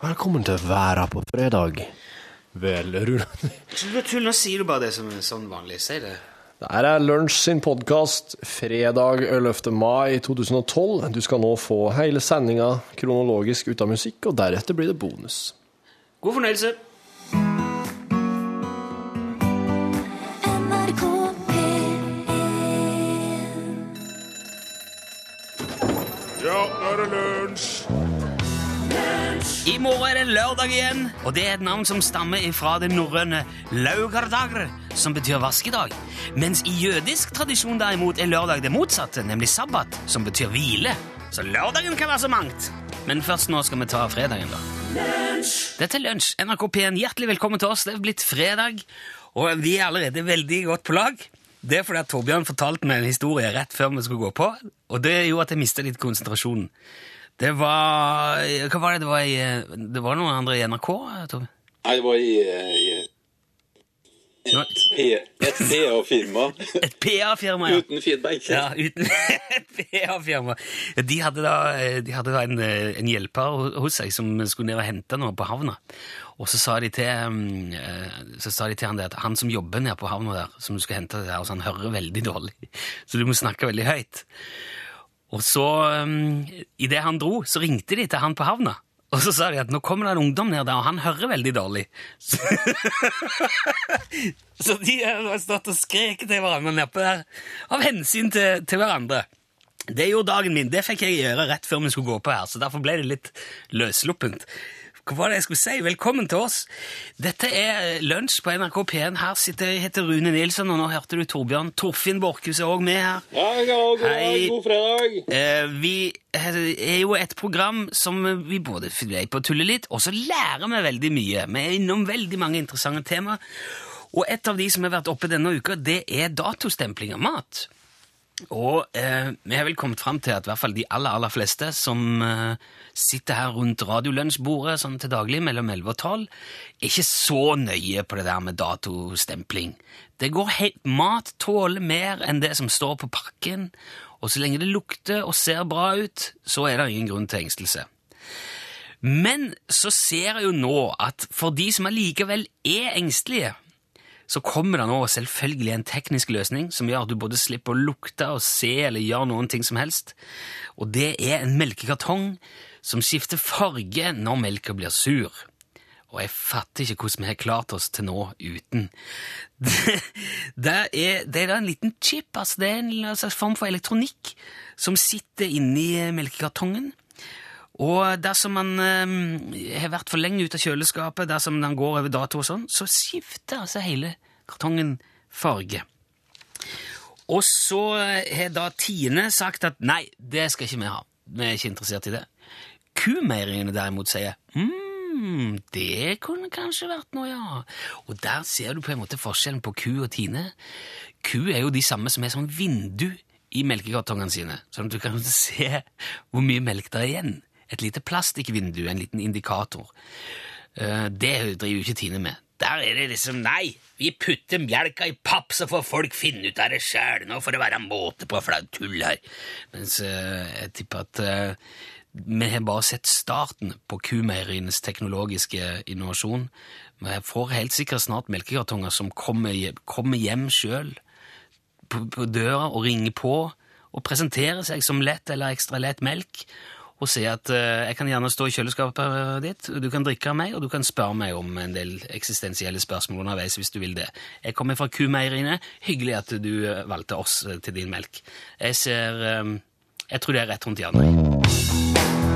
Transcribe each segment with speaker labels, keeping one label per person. Speaker 1: Velkommen til Væra på fredag. Vel, Rune.
Speaker 2: Slutt å tulle, nå sier du bare det som er sånn vanlig. Si det.
Speaker 1: Det her er Lunsj sin podkast fredag 11. mai 2012. Du skal nå få hele sendinga kronologisk ut av musikk, og deretter blir det bonus.
Speaker 2: God fornøyelse.
Speaker 3: NRK P1
Speaker 4: Ja, nå er det lunsj!
Speaker 2: I morgen er det lørdag igjen, og det er et navn som stammer fra det norrøne laugardagr, som betyr vaskedag. Mens i jødisk tradisjon derimot er lørdag det motsatte, nemlig sabbat, som betyr hvile. Så lørdagen kan være så mangt. Men først nå skal vi ta fredagen, da. Dette er Lunsj. NRK P1, hjertelig velkommen til oss. Det er blitt fredag, og vi er allerede veldig godt på lag. Det er fordi at Torbjørn fortalte meg en historie rett før vi skulle gå på, og det gjorde at jeg mista litt konsentrasjonen. Det var Hva var det det var i eh, Det var noen andre i NRK? eh, Torbjørn?
Speaker 5: Nei, det var i, eh, i
Speaker 2: Det var
Speaker 5: P- et PA-firma
Speaker 2: Et PA-firma, ja.
Speaker 5: uten feedback.
Speaker 2: Ja, uten et PA-firma. De hadde da, eh, de hadde da en, eh, en hjelper ho- hos seg som skulle ned og hente noe på havna. Og så sa de til, mm, eh, så sa de til han der at han som jobber nede på havna der, som du skal hente det der, altså han hører veldig dårlig, så du må snakke veldig høyt. Og så, um, idet han dro, så ringte de til han på havna. Og så sa de at nå kommer det en ungdom ned der, og han hører veldig dårlig. Så Så de har stått og skreket til hverandre nedpå der, av hensyn til, til hverandre. Det gjorde dagen min. Det fikk jeg gjøre rett før vi skulle gå på her, så derfor ble det litt løssluppent. Hva var det jeg skulle si? Velkommen til oss. Dette er eh, Lunsj på NRK P1. Her sitter jeg, heter Rune Nilsson, og nå hørte du Torbjørn. Torfinn Borchhus er òg med her.
Speaker 5: Ja, ja, god,
Speaker 2: Hei.
Speaker 5: dag, god fredag!
Speaker 2: Eh, vi er jo et program som vi både er på å tulle litt, og så lærer vi veldig mye. Vi er innom veldig mange interessante tema. Og et av de som har vært oppe denne uka, det er datostempling av mat. Og eh, vi har vel kommet fram til at i hvert fall de aller, aller fleste som eh, sitter her rundt radiolunsjbordet sånn til daglig mellom 11 og 12, er ikke så nøye på det der med datostempling. Det går he Mat tåler mer enn det som står på pakken, og så lenge det lukter og ser bra ut, så er det ingen grunn til engstelse. Men så ser jeg jo nå at for de som allikevel er engstelige, så kommer det nå selvfølgelig en teknisk løsning som gjør at du både slipper å lukte og se eller gjøre noen ting som helst. Og det er en melkekartong som skifter farge når melka blir sur. Og jeg fatter ikke hvordan vi har klart oss til nå uten. Det, det, er, det er da en liten chip, altså det er en slags form for elektronikk, som sitter inni melkekartongen. Og dersom man eh, har vært for lenge ute av kjøleskapet, dersom den går over dato og sånn, så skifter altså hele kartongen farge. Og så har da Tine sagt at nei, det skal ikke vi ha. Vi er ikke interessert i det. Kumeiringene derimot sier mm, det kunne kanskje vært noe, ja. Og der ser du på en måte forskjellen på ku og Tine. Ku er jo de samme som er sånn vindu i melkekartongene sine, sånn at du kan se hvor mye melk det er igjen. Et lite plastikkvindu, en liten indikator. Eh, Det driver jo ikke Tine med. Der er det liksom nei, vi putter melka i papp, så får folk finne ut av det sjæl. Nå får det være måte på flaut tull her. Mens eh, jeg tipper at eh, vi har bare sett starten på kumeierienes teknologiske innovasjon. Vi får helt sikkert snart melkekartonger som kommer hjem, kommer hjem sjøl på, på døra og ringer på og presenterer seg som lett eller ekstra lett melk og sier at eh, jeg kan gjerne stå i kjøleskapet ditt, du kan drikke av meg, og du kan spørre meg om en del eksistensielle spørsmål underveis hvis du vil det. Jeg kommer fra Kumeieriene. Hyggelig at du eh, valgte oss eh, til din melk. Jeg ser eh, Jeg tror det er rett rundt hjørnet.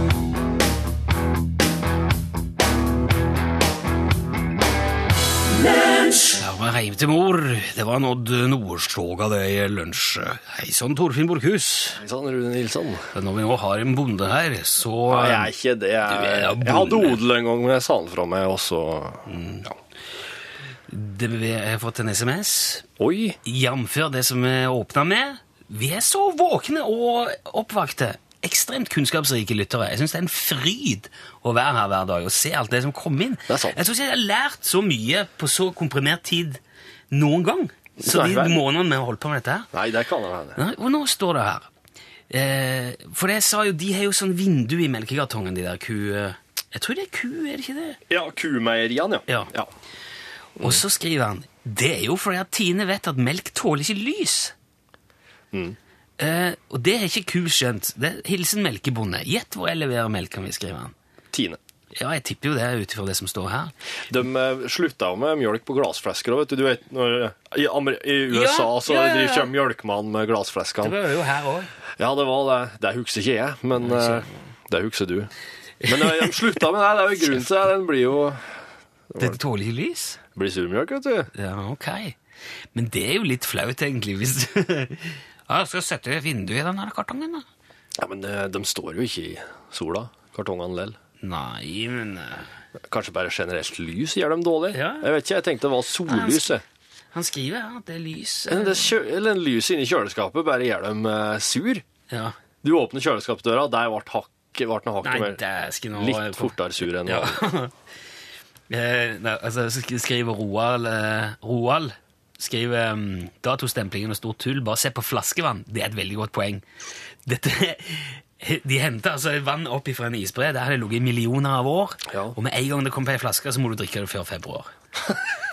Speaker 2: Ja, men heim til mor. Det var nådd Nordstoga, det i lunsj. Hei sann, Torfinn Borchhus.
Speaker 1: Hei sann, Rune Nilsson.
Speaker 2: Når vi nå har en bonde her, så
Speaker 1: Nei, jeg er ikke det.
Speaker 2: Du
Speaker 1: Jeg,
Speaker 2: er bonde. Mm.
Speaker 1: jeg hadde odel en gang, men jeg sa den fra meg, og så ja.
Speaker 2: eh, det, vi har fått en SMS,
Speaker 1: Oi.
Speaker 2: jamfør det som vi åpna med. Vi er så våkne og oppvakte. Ekstremt kunnskapsrike lyttere. Jeg syns det er en fryd å være her hver dag og se alt det som kom inn.
Speaker 1: er sant.
Speaker 2: Jeg tror ikke jeg har lært så mye på så komprimert tid noen gang. Så
Speaker 1: Nei,
Speaker 2: de
Speaker 1: vel.
Speaker 2: månedene vi har holdt på med dette her.
Speaker 1: Nei, det kan jeg være.
Speaker 2: Nei, og nå står det her. Eh, for det jeg sa jo, de har jo sånn vindu i melkekartongen, de der ku... eh, Jeg tror det er ku, er det ikke det?
Speaker 1: Ja, kumeieriene,
Speaker 2: Ja.
Speaker 1: ja.
Speaker 2: Og så skriver han det er jo fordi at Tine vet at melk tåler ikke lys. Eh, og det har ikke ku skjønt. Det, hilsen melkebonde. Gjett hvor jeg leverer melka mi, skriver han.
Speaker 1: Tine.
Speaker 2: Ja, jeg tipper jo det ut ifra det som står her.
Speaker 1: De eh, slutta jo med mjølk på glassflesker. Vet du, du vet, når, i, Amer I USA
Speaker 2: Ja,
Speaker 1: så
Speaker 2: ja, ja, ja.
Speaker 1: driver- kommer mjølkmannen med
Speaker 2: Det
Speaker 1: glassfleskene.
Speaker 2: var jo her òg.
Speaker 1: Ja, det var det. Det husker ikke jeg, men eh, det husker du. Men eh, de slutta med det. Det er jo grunnen til det. Den blir jo
Speaker 2: Dette tåler ikke lys.
Speaker 1: blir surmjølk, vet du.
Speaker 2: Ja, ok. Men det er jo litt flaut, egentlig, hvis du Ja, jeg skal sette et vindu i den her kartongen, da.
Speaker 1: Ja, Men eh, de står jo ikke i sola, kartongene lell.
Speaker 2: Nei, men eh,
Speaker 1: Kanskje bare generelt lys gjør dem dårlig?
Speaker 2: Ja.
Speaker 1: Jeg vet ikke, jeg tenkte det var sollys. jeg.
Speaker 2: Han skriver her at det er lys. eh,
Speaker 1: Men det kjø- Eller lyset inni kjøleskapet bare gjør dem eh, sur.
Speaker 2: Ja.
Speaker 1: Du åpner kjøleskapsdøra, der ble hakket ble noe
Speaker 2: Nei,
Speaker 1: hakket mer.
Speaker 2: dæsken nå
Speaker 1: Litt fortere sur enn
Speaker 2: Ja. Eh, nei, altså, så sk- skriver Roald eh, Roald skriver um, datostemplingen og stort tull. Bare se på flaskevann. Det er et veldig godt poeng. Dette, de henter altså vann opp ifra en isbre. Der har det ligget i millioner av år.
Speaker 1: Ja.
Speaker 2: Og med en gang det kommer på ei flaske, så må du drikke det før februar.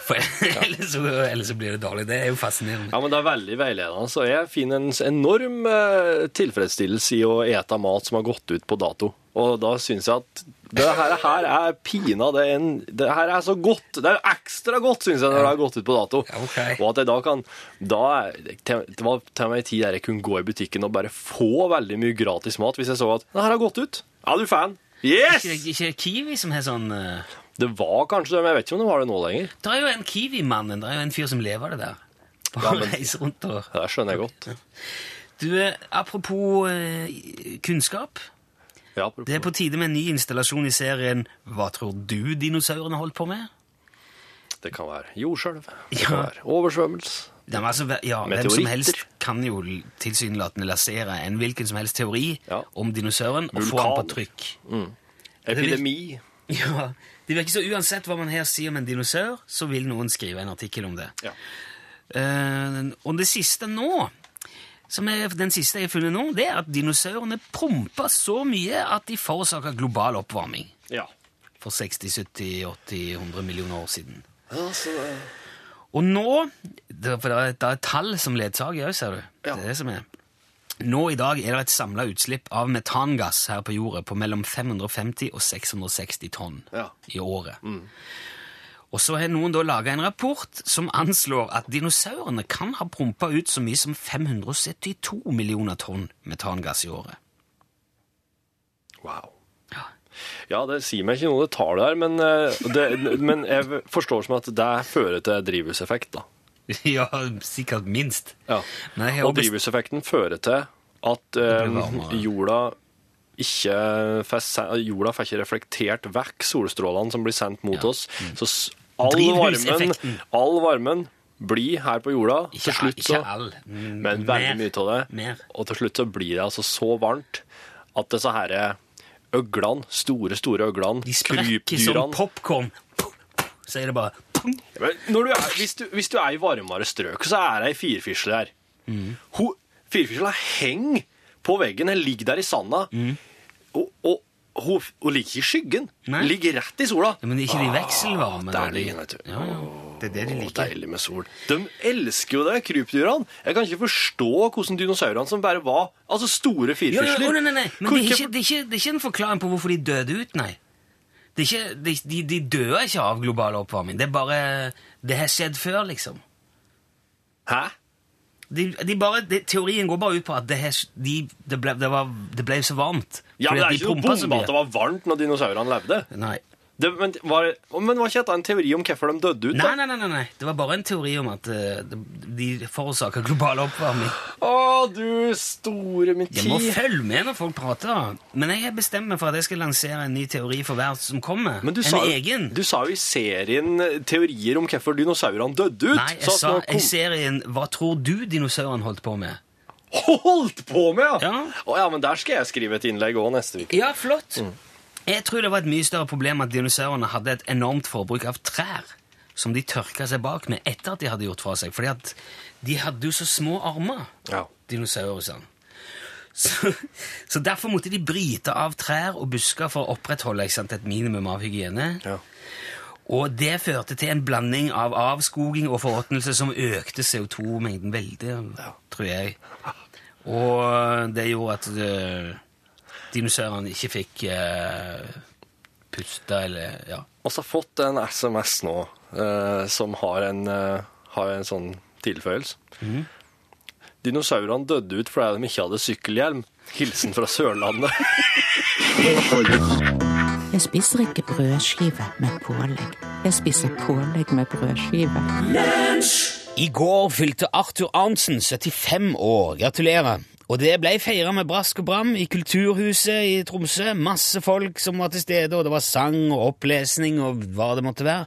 Speaker 2: For ellers, så, ellers så blir det dårlig. Det er jo fascinerende.
Speaker 1: Ja, men det er veldig veiledende. Så jeg finner en s- enorm eh, tilfredsstillelse i å ete mat som har gått ut på dato. Og da syns jeg at det her, her er pina. Det, er en, det her er så godt. Det er ekstra godt, syns jeg, når det har gått ut på dato.
Speaker 2: Ja, ok.
Speaker 1: Og at jeg da kan da, er- til- Det var til meg en tid der jeg kunne gå i butikken og bare få veldig mye gratis mat hvis jeg så at det her har gått ut. Er du fan? Yes!
Speaker 2: Ikke, ikke Kiwi som har sånn eh,
Speaker 1: Det var kanskje det, men jeg vet ikke om det var det nå lenger.
Speaker 2: Det er jo en Kiwi-mann. Det er jo en fyr som lever det der. Bare reiser rundt og
Speaker 1: Det skjønner jeg godt.
Speaker 2: Du, eh, apropos eh, kunnskap.
Speaker 1: Ja, apropos.
Speaker 2: Det er på tide med en ny installasjon i serien Hva tror du dinosaurene holdt på med?
Speaker 1: Det kan være jordskjelv, det
Speaker 2: Ja.
Speaker 1: kan være oversvømmelse.
Speaker 2: Det er altså, ja, hvem
Speaker 1: Meteoritter.
Speaker 2: som helst kan jo l- tilsynelatende lansere en hvilken som helst teori
Speaker 1: Ja.
Speaker 2: om dinosauren og få
Speaker 1: Vulkan.
Speaker 2: den på trykk.
Speaker 1: Epidemi.
Speaker 2: Ja, Det virker så uansett hva man her sier om en dinosaur, så vil noen skrive en artikkel om det.
Speaker 1: Ja.
Speaker 2: Eh, og det siste nå, som er den siste jeg har funnet nå, det er at dinosaurene pumpa så mye at de forårsaka global oppvarming.
Speaker 1: Ja.
Speaker 2: for 60, 70, 80, 100 millioner år siden.
Speaker 1: Altså,
Speaker 2: Og nå det- For det er, det er tall som ledsager òg, ser du.
Speaker 1: Ja.
Speaker 2: Det er det som er. Nå i dag er det et samla utslipp av metangass her på jorda på mellom 550 og 660 tonn
Speaker 1: Ja. Mm.
Speaker 2: i året. Og så har noen da laga en rapport som anslår at dinosaurene kan ha prompa ut så mye som 572 millioner tonn metangass i året.
Speaker 1: wow.
Speaker 2: Ja.
Speaker 1: Ja, det sier meg ikke noe det tar der, men, eh, det, men jeg forstår som at det fører til drivhuseffekt, da.
Speaker 2: ja, sikkert minst.
Speaker 1: Ja.
Speaker 2: Men jeg har
Speaker 1: Og
Speaker 2: best-
Speaker 1: drivhuseffekten fører til at eh,
Speaker 2: blir varmere.
Speaker 1: jorda ikke får se- jorda får ikke reflektert vekk solstrålene som blir sendt mot oss. Så s- all varmen,
Speaker 2: Drivhuseffekten.
Speaker 1: all varmen blir her på jorda.
Speaker 2: Ikke,
Speaker 1: til slutt
Speaker 2: ikke
Speaker 1: så
Speaker 2: all. mm,
Speaker 1: Men veldig mye av det.
Speaker 2: Mer.
Speaker 1: Og til slutt så blir det altså så varmt at disse her øglene, store, store øglene,
Speaker 2: De sprekker som popkorn. Så er det bare pum.
Speaker 1: Men når du er, hvis, du, hvis du er i varmere strøk, så er det ei firfisle der.
Speaker 2: Mm.
Speaker 1: Ho- Firfisla henger på veggen, eller ligger der i sanda,
Speaker 2: Mm.
Speaker 1: og, og hun, hun ligger ikke i skyggen.
Speaker 2: Nei.
Speaker 1: Ligger rett i sola.
Speaker 2: Ja, men er ikke de
Speaker 1: Ah,
Speaker 2: vekselvarme? da,
Speaker 1: Der ligger den, vet du.
Speaker 2: Ja, ja. Det er det de
Speaker 1: Å,
Speaker 2: liker.
Speaker 1: deilig med sol. De elsker jo det, krypdyrene. Jeg kan ikke forstå hvordan dinosaurene som bare var altså
Speaker 2: Ja,
Speaker 1: store
Speaker 2: ja,
Speaker 1: firfisler
Speaker 2: å, nei, nei, nei. Men
Speaker 1: Hvor-
Speaker 2: det er, ikke, det, er ikke, det er ikke en forklaring på hvorfor de døde ut, nei. Det er ikke, de, de, de dør ikke av global oppvarming. Det er bare Det har skjedd før, liksom.
Speaker 1: Hæ?
Speaker 2: De, de bare, de, teorien går bare ut på at det, har- de, det, ble, det, var, det ble så varmt.
Speaker 1: Ja,
Speaker 2: Fordi
Speaker 1: men Det
Speaker 2: at
Speaker 1: er
Speaker 2: de
Speaker 1: ikke noe
Speaker 2: pumpet så
Speaker 1: bombe
Speaker 2: mye.
Speaker 1: at det var varmt når dinosaurene levde.
Speaker 2: Nei.
Speaker 1: Det, men, var, men var ikke dette en teori om hvorfor de døde ut?
Speaker 2: Nei,
Speaker 1: da?
Speaker 2: nei, nei, nei, nei. Det var bare en teori om at eh, de- de forårsaker global oppvarming.
Speaker 1: Å, du store min
Speaker 2: Jeg
Speaker 1: tid.
Speaker 2: må følge med når folk prater. Men jeg har bestemt meg for at jeg skal lansere en ny teori for hver som kommer.
Speaker 1: Men du
Speaker 2: en
Speaker 1: sa, jo-
Speaker 2: egen.
Speaker 1: du sa jo i serien eh, teorier om hvorfor dinosaurene dødde ut.
Speaker 2: Nei, jeg
Speaker 1: Så at
Speaker 2: sa
Speaker 1: nå kom-
Speaker 2: i serien 'Hva tror du dinosauren holdt på med?'
Speaker 1: Holdt på med, ja!
Speaker 2: Ja.
Speaker 1: Å ja, men der skal jeg skrive et innlegg òg neste uke.
Speaker 2: Ja, flott.
Speaker 1: Mm.
Speaker 2: Jeg tror det var et mye større problem at dinosaurene hadde et enormt forbruk av trær som de tørka seg bak med etter at de hadde gjort fra seg. Fordi at de hadde jo så små armer,
Speaker 1: Ja.
Speaker 2: dinosaurene. Så, så derfor måtte de bryte av trær og busker for å opprettholde ikke sant, et minimum av hygiene.
Speaker 1: Ja.
Speaker 2: Og det førte til en blanding av avskoging og forråtnelse som økte CO2-mengden veldig, tror jeg. Og det gjorde at eh, dinosaurene ikke fikk eh, puste eller ja.
Speaker 1: Og så har jeg fått en SMS nå eh, som har en, eh, har en sånn tilføyelse.
Speaker 2: Mhm.
Speaker 1: Dinosaurene døde ut fordi de ikke hadde sykkelhjelm. Hilsen fra Sørlandet.
Speaker 3: Jeg spiser ikke brødskive med pålegg. Jeg spiser pålegg med brødskive.
Speaker 2: I går fylte Arthur Arntzen 75 år. Gratulerer. Og det ble feira med brask og bram i Kulturhuset i Tromsø. Masse folk som var til stede, og det var sang og opplesning og hva det måtte være.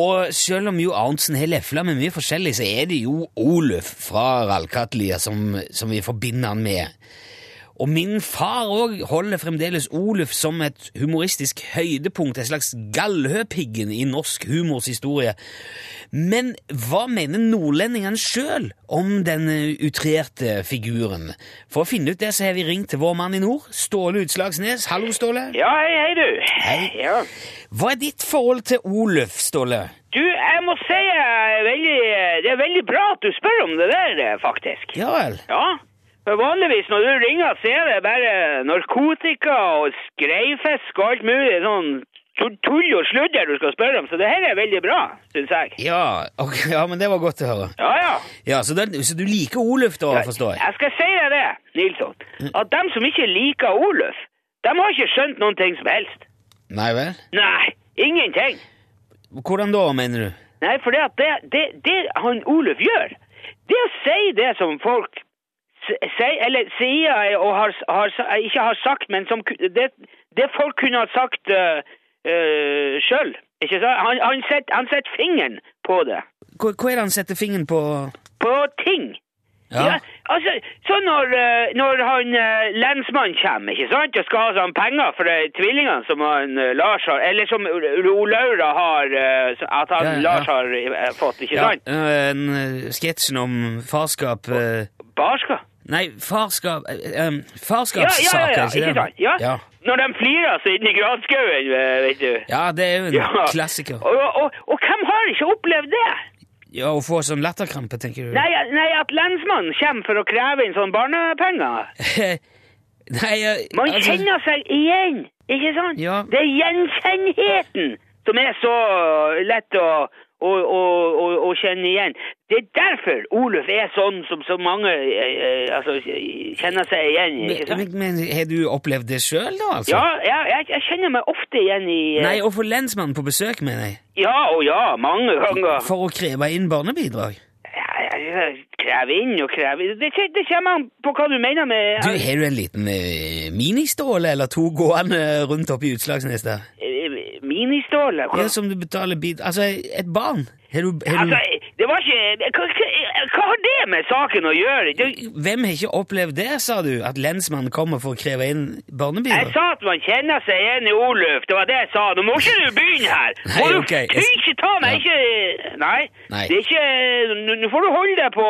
Speaker 2: Og selv om jo Arntzen har lefla med mye forskjellig, så er det jo Oluf fra Rallkatlia som, som vi forbinder han med. Og min far òg holder fremdeles Oluf som et humoristisk høydepunkt, en slags Gallhøpiggen i norsk humors historie. Men hva mener nordlendingene sjøl om denne utrerte figuren? For å finne ut det, så har vi ringt til vår mann i nord, Ståle Utslagsnes. Hallo, Ståle.
Speaker 6: Ja, hei, hei, du.
Speaker 2: Hei.
Speaker 6: Ja.
Speaker 2: Hva er ditt forhold til Oluf, Ståle?
Speaker 6: Du, jeg må si jeg er veldig, det er veldig bra at du spør om det der, eh, faktisk.
Speaker 2: Ja vel.
Speaker 6: Ja. For vanligvis når du ringer, så er det bare narkotika og skreifisk og alt mulig sånn tu- tull og sludder du skal spørre om. Så det her er veldig bra, syns jeg.
Speaker 2: Ja, ok, ja, men det var godt å høre.
Speaker 6: Ja, ja.
Speaker 2: Ja, Så, den, så du liker Oluf, da, forstår jeg?
Speaker 6: Jeg skal si deg det, Nilsson, at dem som ikke liker Oluf, dem har ikke skjønt noen ting som helst.
Speaker 2: Nei vel?
Speaker 6: Nei, ingenting.
Speaker 2: Hvordan da, mener du?
Speaker 6: Nei, for det, at det, det, det han Oluf gjør, det å si det som folk s- sier, eller sier og har, har, ikke har sagt, men som ku- det, det folk kunne ha sagt uh, sjøl. Ikke sant? Han, han setter han setter fingeren på det.
Speaker 2: Hva, hva er det han setter fingeren på?
Speaker 6: På ting. Ja, altså, så når, eh, når han eh, lensmannen kommer, ikke sant, og skal ha sånn penger for eh, tvillingene som han eh, Lars har, eller som Ro Laura har, eh, så- at han
Speaker 2: Ja, ja, ja.
Speaker 6: Lars har eh, fått, ikke
Speaker 2: Ja,
Speaker 6: sant?
Speaker 2: eh, en, eh, sketsjen om farskap eh,
Speaker 6: Barskap.
Speaker 2: Nei, farskap eh, eh,
Speaker 6: Ja, ja,
Speaker 2: Farskapssaker,
Speaker 6: ja, ja,
Speaker 2: ikke
Speaker 6: ikke sant?
Speaker 2: det?
Speaker 6: Ja.
Speaker 2: ja.
Speaker 6: Når de flirer altså, så inni granskauen, eh, vet du.
Speaker 2: Ja, det er jo en
Speaker 6: Ja.
Speaker 2: klassiker.
Speaker 6: Og, og, og hvem har ikke opplevd det?
Speaker 2: Ja, Å få sånn latterkrampe, tenker du?
Speaker 6: Nei, nei, at lensmannen kommer for å kreve inn sånn barnepenger.
Speaker 2: Nei, eh,
Speaker 6: Man
Speaker 2: altså-
Speaker 6: kjenner seg igjen, ikke sant?
Speaker 2: Ja.
Speaker 6: Det er gjenkjennheten som er så lett å, å, å, å, å kjenne igjen. Det er derfor Oluf er sånn som så mange eh, eh, altså, kjenner seg igjen. ikke sant?
Speaker 2: Men, men har du opplevd det sjøl, da? altså?
Speaker 6: Ja, jeg, jeg, jeg kjenner meg ofte igjen i eh,
Speaker 2: Nei, å få lensmannen på besøk, mener jeg.
Speaker 6: Ja og ja, mange ganger.
Speaker 2: For å kreve inn barnebidrag.
Speaker 6: Ja, ja, Krev inn og krev inn. Det, det kommer an på hva du mener med
Speaker 2: Du, Har du en liten eh, ministåle eller to gående rundt oppe i Utslagsnes der?
Speaker 6: Eh, Ministåle? Hva-
Speaker 2: Ja, som du betaler bid... Altså, et barn? Har du, har du
Speaker 6: Altså, det var ikke hva, hva- hva har det med saken å gjøre? Du,
Speaker 2: Hvem har ikke opplevd det, sa du? At lensmannen kommer for å kreve inn
Speaker 6: jeg
Speaker 2: barnebidrag?
Speaker 6: sa at man kjenner seg igjen i Oluf. Det var det jeg sa. Nå må ikke du begynne her!
Speaker 2: Nei,
Speaker 6: Må du
Speaker 2: ok, jeg-
Speaker 6: ty ikke ta
Speaker 2: Ja.
Speaker 6: meg ikke Nei.
Speaker 2: Nei.
Speaker 6: Det er ikke Nå nå får du holde deg på,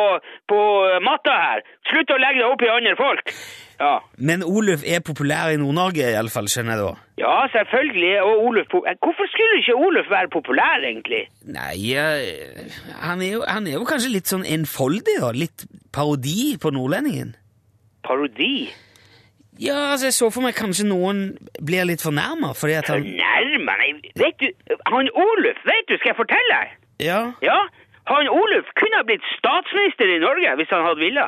Speaker 6: på matta her. Slutt å legge deg opp i andre folk. Ja.
Speaker 2: Men Oluf er populær i Nord-Norge, iallfall, skjønner jeg da.
Speaker 6: Ja, selvfølgelig. Og Oluf po- Hvorfor skulle ikke Oluf være populær, egentlig?
Speaker 2: Nei, eh, han er, jo, han er jo kanskje litt sånn enfoldig, da. Litt parodi på nordlendingen.
Speaker 6: Parodi?
Speaker 2: Ja, altså, jeg så for meg kanskje noen blir litt fornærma fordi at han
Speaker 6: Nærmere? Nei, vet du, han Oluf, vet du, skal jeg fortelle deg?
Speaker 2: Ja,
Speaker 6: Ja, han Oluf kunne ha blitt statsminister i Norge hvis han hadde ville.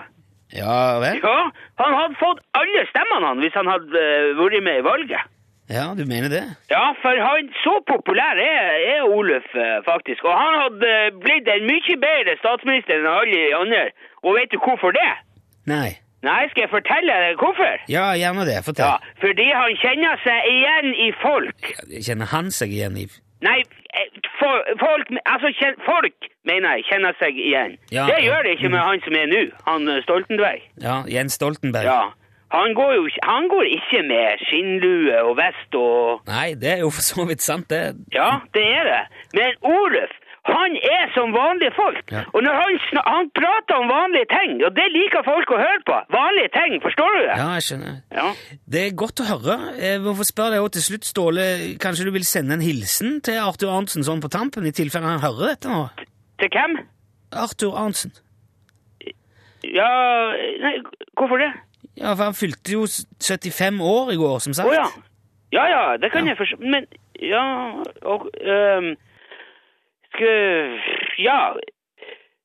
Speaker 2: ja vel?
Speaker 6: Ja, han hadde fått alle stemmene han hvis han hadde eh, vært med i valget.
Speaker 2: Ja, du mener det?
Speaker 6: Ja, for han så populær er, er Oluf eh, faktisk, og han hadde eh, blitt en mye bedre statsminister enn alle de andre. Og vet du hvorfor det?
Speaker 2: Nei.
Speaker 6: Nei, skal jeg fortelle deg hvorfor?
Speaker 2: Ja, gjerne det.
Speaker 6: Ja,
Speaker 2: Fortell.
Speaker 6: fordi han kjenner seg igjen i folk.
Speaker 2: Kjenner han seg igjen i
Speaker 6: Nei, eh, for, folk, altså, kjen- folk, mener jeg, kjenner seg igjen.
Speaker 2: Ja,
Speaker 6: det
Speaker 2: ja.
Speaker 6: gjør det ikke med han som er nå, han eh, Stoltenberg.
Speaker 2: Ja, Jens Stoltenberg?
Speaker 6: Ja. Han går jo ikke- han går ikke med skinnlue og vest og
Speaker 2: Nei, det er jo for så vidt sant, det.
Speaker 6: Ja, det er det. Men Oluf, han Han er som vanlige folk.
Speaker 2: Ja.
Speaker 6: Og når han, snak, han prater om vanlige ting, og det liker folk å høre på. Vanlige ting, forstår du det?
Speaker 2: Ja, jeg skjønner.
Speaker 6: Ja.
Speaker 2: Det er godt å høre. Eh, Jeg må få spørre deg også til slutt, Ståle. Kanskje du vil sende en hilsen til Arthur Arntzen sånn på tampen, i tilfelle han hører dette nå?
Speaker 6: Til hvem?
Speaker 2: Arthur Arntzen.
Speaker 6: Ja, nei, hvorfor det?
Speaker 2: Ja, for han fylte jo s- 75 år i går, som
Speaker 6: Å
Speaker 2: sagt.
Speaker 6: ja. Ja ja, det kan
Speaker 2: Ja.
Speaker 6: jeg forstå. Men ja og, ehm, Skal Ja.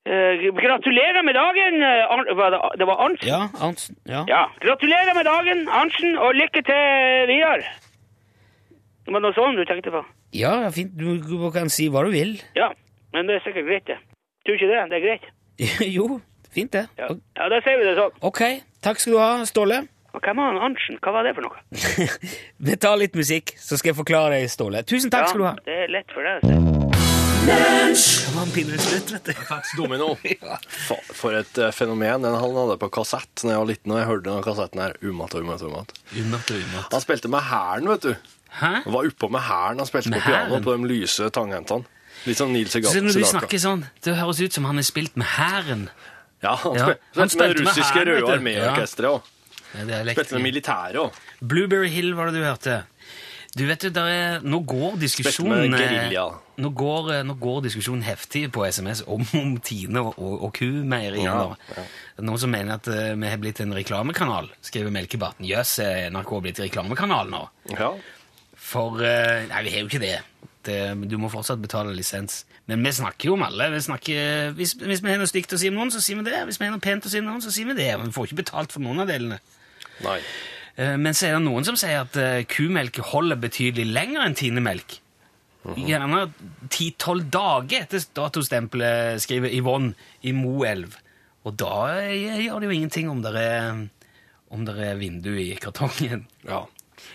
Speaker 6: Eh, gratulerer med dagen, eh, Arn, hva det, det var Arntzen?
Speaker 2: Ja, Arntzen. Ja.
Speaker 6: Ja, gratulerer med dagen, Arntzen, og lykke til videre. Det var noe sånn du tenkte på.
Speaker 2: ja, det er fint. Du, du kan si hva du vil.
Speaker 6: Ja, men det er sikkert greit, det. Tror ikke det? Det er greit.
Speaker 2: jo, fint det.
Speaker 6: Ja,
Speaker 2: Ok,
Speaker 6: ja da sier vi det sånn.
Speaker 2: Ok, takk skal du ha, Ståle.
Speaker 6: Og hvem var han Arntzen? Hva var det for noe?
Speaker 2: Vi tar litt musikk, så skal jeg forklare deg, Ståle. Tusen takk skal du ha.
Speaker 6: Ja, det er lett for deg.
Speaker 2: Det var en pinlig slutt, vet du.
Speaker 1: Domino. Fa- For et eh, fenomen. Den han hadde på kassett da jeg var liten, og jeg hørte den kassetten her umat og umat og umat. Han spilte med hæren, vet du.
Speaker 2: Hæ?
Speaker 1: Han var oppå med hæren. Han spilte
Speaker 2: Med
Speaker 1: på piano
Speaker 2: hæren?
Speaker 1: på de lyse tanghentene. Litt sånn som Neil Sedaka.
Speaker 2: Så når du snakker sånn, det høres ut som han er spilt med hæren.
Speaker 1: Ja, han,
Speaker 2: Ja,
Speaker 1: spil-
Speaker 2: han
Speaker 1: spilte med
Speaker 2: spilte
Speaker 1: det
Speaker 2: med
Speaker 1: russiske
Speaker 2: hæren, vet
Speaker 1: Røde
Speaker 2: du.
Speaker 1: Armé-orkesteret òg.
Speaker 2: Ja, det er lekt.
Speaker 1: Spilte med militæret òg.
Speaker 2: Blueberry Hill var det du hørte. Du vet jo, der er, nå går
Speaker 1: Spilte
Speaker 2: diskusjonen
Speaker 1: med
Speaker 2: eh,
Speaker 1: gerilja.
Speaker 2: nå går, eh, nå går diskusjonen heftig på SMS om, om Tine og, og, og kumeieriene.
Speaker 1: Ja,
Speaker 2: Noen som mener at eh, vi har blitt en reklamekanal, skriver Melkebarten. Jøss, er NRK blitt en reklamekanal nå?
Speaker 1: Ja.
Speaker 2: For eh, Nei, vi har jo ikke det. det. Du må fortsatt betale lisens. Men vi snakker jo om alle. Vi snakker, eh, hvis, hvis vi har noe stygt å si om noen, så sier vi det. Hvis vi har noe pent å si om noen, så sier vi det. Men vi får ikke betalt for noen av delene.
Speaker 1: Nei.
Speaker 2: Eh, Men så er det noen som sier at eh, kumelk holder betydelig lenger enn tinemelk.
Speaker 1: Mhm.
Speaker 2: Gjerne 10-12 dager etter datostempelet, skriver Yvonne i Moelv. Og da eh, gjør det jo ingenting om det er, om det er vindu i kartongen.
Speaker 1: Ja.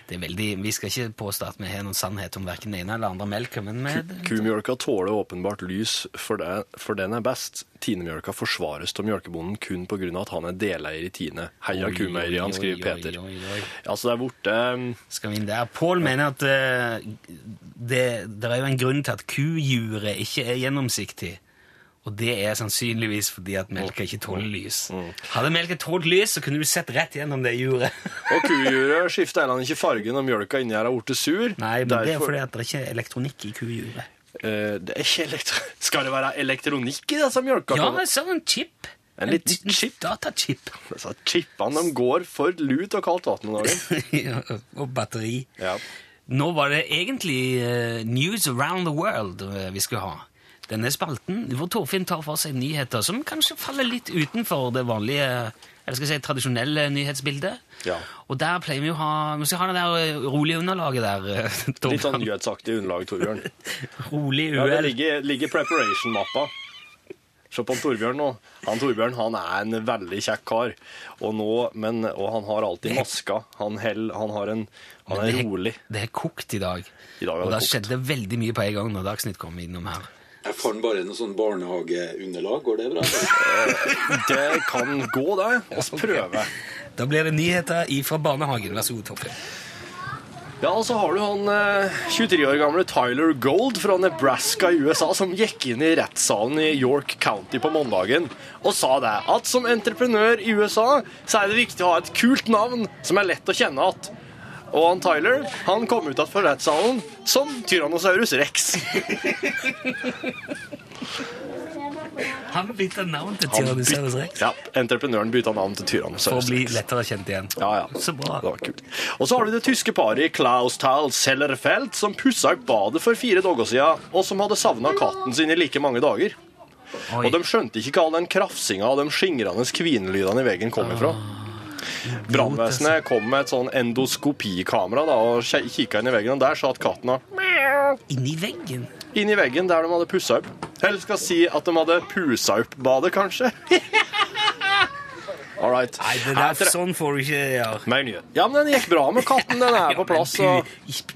Speaker 2: Det er veldig, vi skal ikke påstå at vi har noen sannhet om hverken den ene eller andre melka, men vi,
Speaker 1: Kumjølka tåler åpenbart lys, for, det, for den er best. Tinemjølka forsvares av mjølkebonden kun pga. at han er deleier i Tine. Heia
Speaker 2: Oi, oi,
Speaker 1: kumeieriene,
Speaker 2: oi,
Speaker 1: skriver
Speaker 2: oi,
Speaker 1: Peter.
Speaker 2: oi, oi.
Speaker 1: Ja, så det er borte um,
Speaker 2: skal vi inn der. Pål mener at eh, det, det er jo en grunn til at kujuret ikke er gjennomsiktig. Og det er sannsynligvis fordi at melka ikke tåler lys. Hadde melka tålt lys, så kunne du sett rett gjennom det juret.
Speaker 1: Og kujuret skifter heller ikke fargen når mjølka inni her har blitt sur.
Speaker 2: Nei, men det er
Speaker 1: Derfor-
Speaker 2: fordi at det er ikke er elektronikk i kujuret.
Speaker 1: Eh, det er ikke elektro... Skal det være elektronikk i disse
Speaker 2: Ja,
Speaker 1: mjølkartene?
Speaker 2: sånn chip.
Speaker 1: En liten
Speaker 2: liten
Speaker 1: chip.
Speaker 2: Datachip.
Speaker 1: Disse chipene de går for lut og kaldt vann om dagen.
Speaker 2: Ja, og batteri.
Speaker 1: Ja.
Speaker 2: Nå var det egentlig eh, News Around the World eh, vi skulle ha. Denne spalten hvor Torfinn tar for seg nyheter som kanskje faller litt utenfor det vanlige, eh, eller skal jeg si tradisjonelle nyhetsbildet.
Speaker 1: Ja.
Speaker 2: Og der pleier vi å ha Vi skal ha det der eh, rolige underlaget der. eh,
Speaker 1: Litt sånn
Speaker 2: Torfinn.
Speaker 1: nyhetsaktig underlag, Torbjørn.
Speaker 2: Rolig
Speaker 1: Ja, det
Speaker 2: uhell.
Speaker 1: ligger, ligger preparation-mappa. Se på han Torbjørn nå. Han Torbjørn han er en veldig kjekk kar, og, nå, men, og han har alltid maska. Han, hell, han, har en, han er rolig.
Speaker 2: Det er kokt i dag.
Speaker 1: I dag
Speaker 2: og
Speaker 1: er det
Speaker 2: det
Speaker 1: kokt.
Speaker 2: skjedde veldig mye på en gang når Dagsnytt kom innom her.
Speaker 5: Jeg fant bare noe sånn barnehageunderlag. Går det bra?
Speaker 1: Det kan gå, det. Vi prøver.
Speaker 2: Da blir det nyheter ifra barnehagen. Vær så god, Torfinn.
Speaker 1: Ja, og så har du han eh, 23 år gamle Tyler Gold fra Nebraska i USA som gikk inn i rettssalen i York County på mandagen og sa det at som entreprenør i USA så er det viktig å ha et kult navn som er lett å kjenne at. Og han Tyler han kom ut fra rettssalen som Tyrannosaurus rex.
Speaker 2: Han bytter navn til
Speaker 1: Han
Speaker 2: Tyrannosaurus
Speaker 1: byt-
Speaker 2: rex
Speaker 1: Ja, entreprenøren bytta navn til
Speaker 2: for å
Speaker 1: Tyrannosaurus
Speaker 2: bli
Speaker 1: rex.
Speaker 2: lettere kjent igjen.
Speaker 1: Ja, ja.
Speaker 2: Så bra.
Speaker 1: Det var kult. Og så har du det tyske paret Klausthal Sellerfeld som pussa opp badet for fire dager siden, og som hadde savna katten sin i like mange dager.
Speaker 2: Oi.
Speaker 1: Og de skjønte ikke hva all den krafsinga og de skingrende kvinelydene i veggen kom ifra.
Speaker 2: Ah.
Speaker 1: Brannvesenet kom med et sånn endoskopikamera da, og kje- kikka inn i veggen, og der satt katten da,
Speaker 2: Inni veggen?
Speaker 1: inn i veggen der de hadde pussa opp. Eller skal si at de hadde pusa opp badet, kanskje. All right.
Speaker 2: Nei, det
Speaker 1: Her
Speaker 2: der,
Speaker 1: tre-
Speaker 2: sånn får du ikke gjøre.
Speaker 1: Mer nyhet. Ja, men den gikk bra med katten. Den er på plass. og...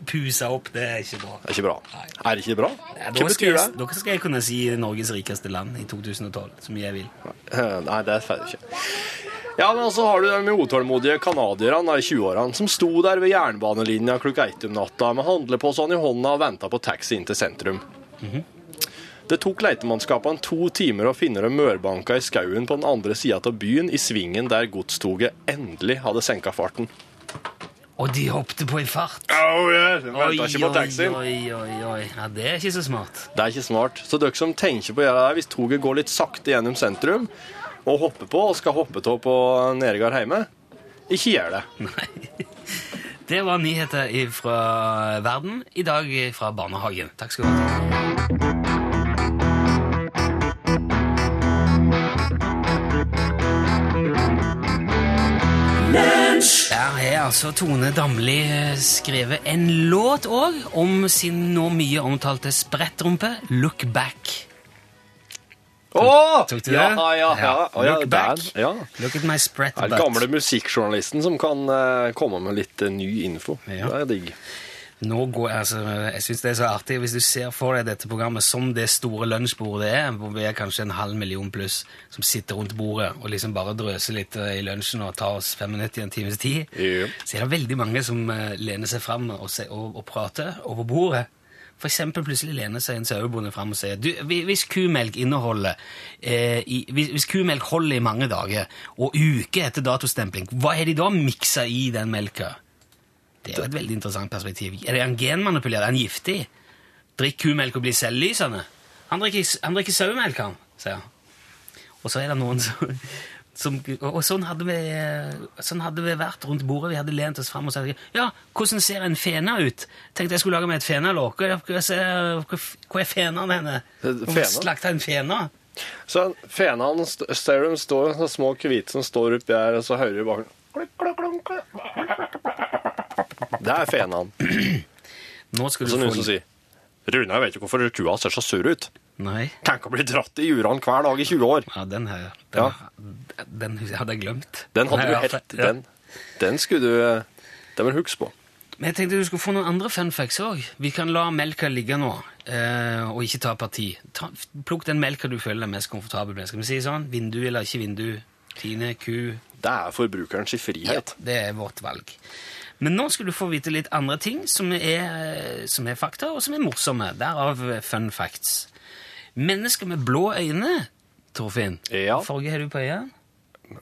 Speaker 2: Pusa opp, det er ikke bra.
Speaker 1: Det er ikke bra. Er det ikke bra?
Speaker 2: Ja,
Speaker 1: Hva
Speaker 2: da, skal
Speaker 1: betyr
Speaker 2: jeg,
Speaker 1: det?
Speaker 2: da skal jeg kunne si Norges rikeste land i 2012, som jeg vil.
Speaker 1: Nei, det er ferdig ikke. Ja, men så har du de utålmodige canadierne da i 20-årene som sto der ved Mhm. jernbanelinja klokka ett om natta med handleposene i hånda og venta på taxi inn til sentrum. Det tok leitemannskapene to timer å finne dem mørbanka i skauen på den andre sida av byen, i svingen der godstoget endelig hadde senka farten.
Speaker 2: Og de hoppet på i fart.
Speaker 4: Au, ja. Den
Speaker 2: Oi,
Speaker 4: venter ikke
Speaker 2: oi,
Speaker 4: på taxien.
Speaker 2: oi, oi, oi. Ja, det er ikke så smart.
Speaker 1: Det er ikke smart. Så dere som tenker på å gjøre det, hvis toget går litt sakte gjennom sentrum, og hopper på, og skal hoppe av på Nedegard hjemme, ikke gjør det.
Speaker 2: Det var nyheter fra verden, i dag fra barnehagen. Takk skal du ha. Der har altså Tone Damli eh, skrevet en låt òg om sin nå mye omtalte sprettrumpe, 'Look Back'.
Speaker 1: Åh!
Speaker 2: Tok du
Speaker 1: ja,
Speaker 2: det?
Speaker 1: Ja, ja, ja. Å, ja,
Speaker 2: Look
Speaker 1: det
Speaker 2: back.
Speaker 1: er- Ja.
Speaker 2: Look at my spret
Speaker 1: Det er
Speaker 2: butt.
Speaker 1: den gamle musikkjournalisten som kan eh, komme med litt eh, ny info.
Speaker 2: Ja.
Speaker 1: Det er digg.
Speaker 2: Nå går, altså, jeg synes det er så artig Hvis du ser for deg dette programmet som det store lunsjbordet det er, hvor vi er kanskje en halv million pluss som sitter rundt bordet og liksom bare drøser litt eh, i lunsjen og tar oss fem minutter i en times tid,
Speaker 1: Ja.
Speaker 2: så er det veldig mange som eh, lener seg fram og, se- og, og prater over bordet. For eksempel plutselig lener seg en sauebonde fram og sier du, hvi- hvis kumelk inneholder eh, i, hvis, hvis kumelk holder i mange dager og uker etter datostempling, hva har de da miksa i den melka? Det er jo et veldig interessant perspektiv. Er det en genmanipulert? Er han giftig? Drikk kumelk og bli selvlysende? Han drikker, han drikker sauemelk, han, sier han. Og så er det noen som, som Og og sånn hadde, vi, sånn hadde vi vært rundt bordet. Vi hadde lent oss fram og sagt Ja, hvordan ser en fene ut? Tenkte jeg skulle lage meg et fenalår. Hva er det- hva ser- hva er fenaen henne?
Speaker 1: Fena?
Speaker 2: Hvorfor slakta en fena?
Speaker 1: Så fena han st- ser dem stå, så små hvite som står oppi her, og så hører du bak klunk, klunk, klunk, klunk. Det er fenaen.
Speaker 2: Nå skal du
Speaker 1: Så noen
Speaker 2: få
Speaker 1: som sier Rune, jeg vet ikke hvorfor kua ser så sur ut.
Speaker 2: Nei.
Speaker 1: Tenk å bli dratt i jurene hver dag i 20 år.
Speaker 2: Ja, den her. Den,
Speaker 1: Ja.
Speaker 2: den hadde jeg glemt.
Speaker 1: Den hadde
Speaker 2: Nei,
Speaker 1: du
Speaker 2: ja,
Speaker 1: helt.
Speaker 2: ja.
Speaker 1: Den, den skulle du eh, Den vil du huske på.
Speaker 2: Men jeg tenkte du skulle få noen andre fun facts òg. Vi kan la melka ligge nå, eh, og ikke ta parti. Ta, plukk den melka du føler deg mest komfortabel med. Skal vi si sånn? Vindu eller ikke vindu? Tine, ku
Speaker 1: Det er forbrukerens frihet.
Speaker 2: Det er vårt valg. Men nå skal du få vite litt andre ting som er, som er fakta, og som er morsomme. Derav fun facts. Mennesker med blå øyne, Torfinn.
Speaker 1: Ja.
Speaker 2: Farge har du på øynene?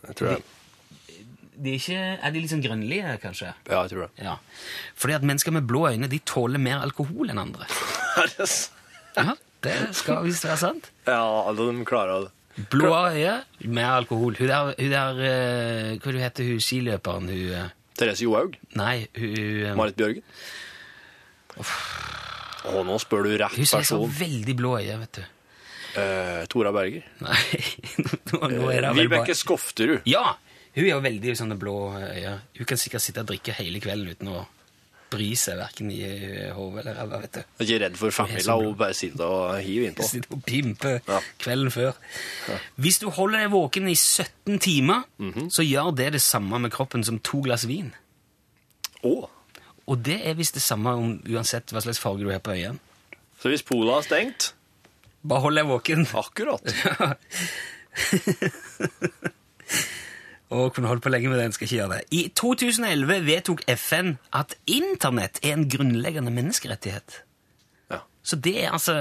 Speaker 1: Jeg tror det.
Speaker 2: De er, ikke, er de litt sånn grønnlige, kanskje?
Speaker 1: Ja, jeg tror det.
Speaker 2: Ja. Fordi at mennesker med blå øyne de tåler mer alkohol enn andre.
Speaker 1: Er det s-
Speaker 2: Ja, det skal visst være sant.
Speaker 1: Ja, alle de klarer det.
Speaker 2: Blå øye, mer alkohol. Hun der, hun der eh, Hva du heter hun skiløperen? Hun eh,
Speaker 1: Therese Johaug.
Speaker 2: Nei, hun eh,
Speaker 1: Marit Bjørgen. Å, nå spør du rett
Speaker 2: Hun som er så
Speaker 1: person.
Speaker 2: veldig blå øye, vet du.
Speaker 1: Eh, Tora Berger. Eh,
Speaker 2: Nei, nå, nå er det vel
Speaker 1: Vibeke
Speaker 2: bare
Speaker 1: Skofterud.
Speaker 2: Ja! Hun er jo veldig sånne blå øyne. Hun kan sikkert sitte og drikke hele kvelden uten å bry seg, verken i eh, hodet eller ræva, vet du.
Speaker 1: Jeg er ikke redd for familia, hun bare sitter og hiver innpå.
Speaker 2: Sitte og pimpe
Speaker 1: Ja.
Speaker 2: kvelden før. Hvis du holder deg våken i 17 timer,
Speaker 1: Mhm.
Speaker 2: så gjør det det samme med kroppen som to glass vin.
Speaker 1: Å!
Speaker 2: Og det er visst det samme om, uansett hva slags farge du har på øynene.
Speaker 1: Så hvis Pola har stengt
Speaker 2: Bare hold deg våken.
Speaker 1: Akkurat.
Speaker 2: Og kunne holdt på lenge med den, skal ikke gjøre det. I 2011 vedtok FN at internett er en grunnleggende menneskerettighet.
Speaker 1: Ja.
Speaker 2: Så det er altså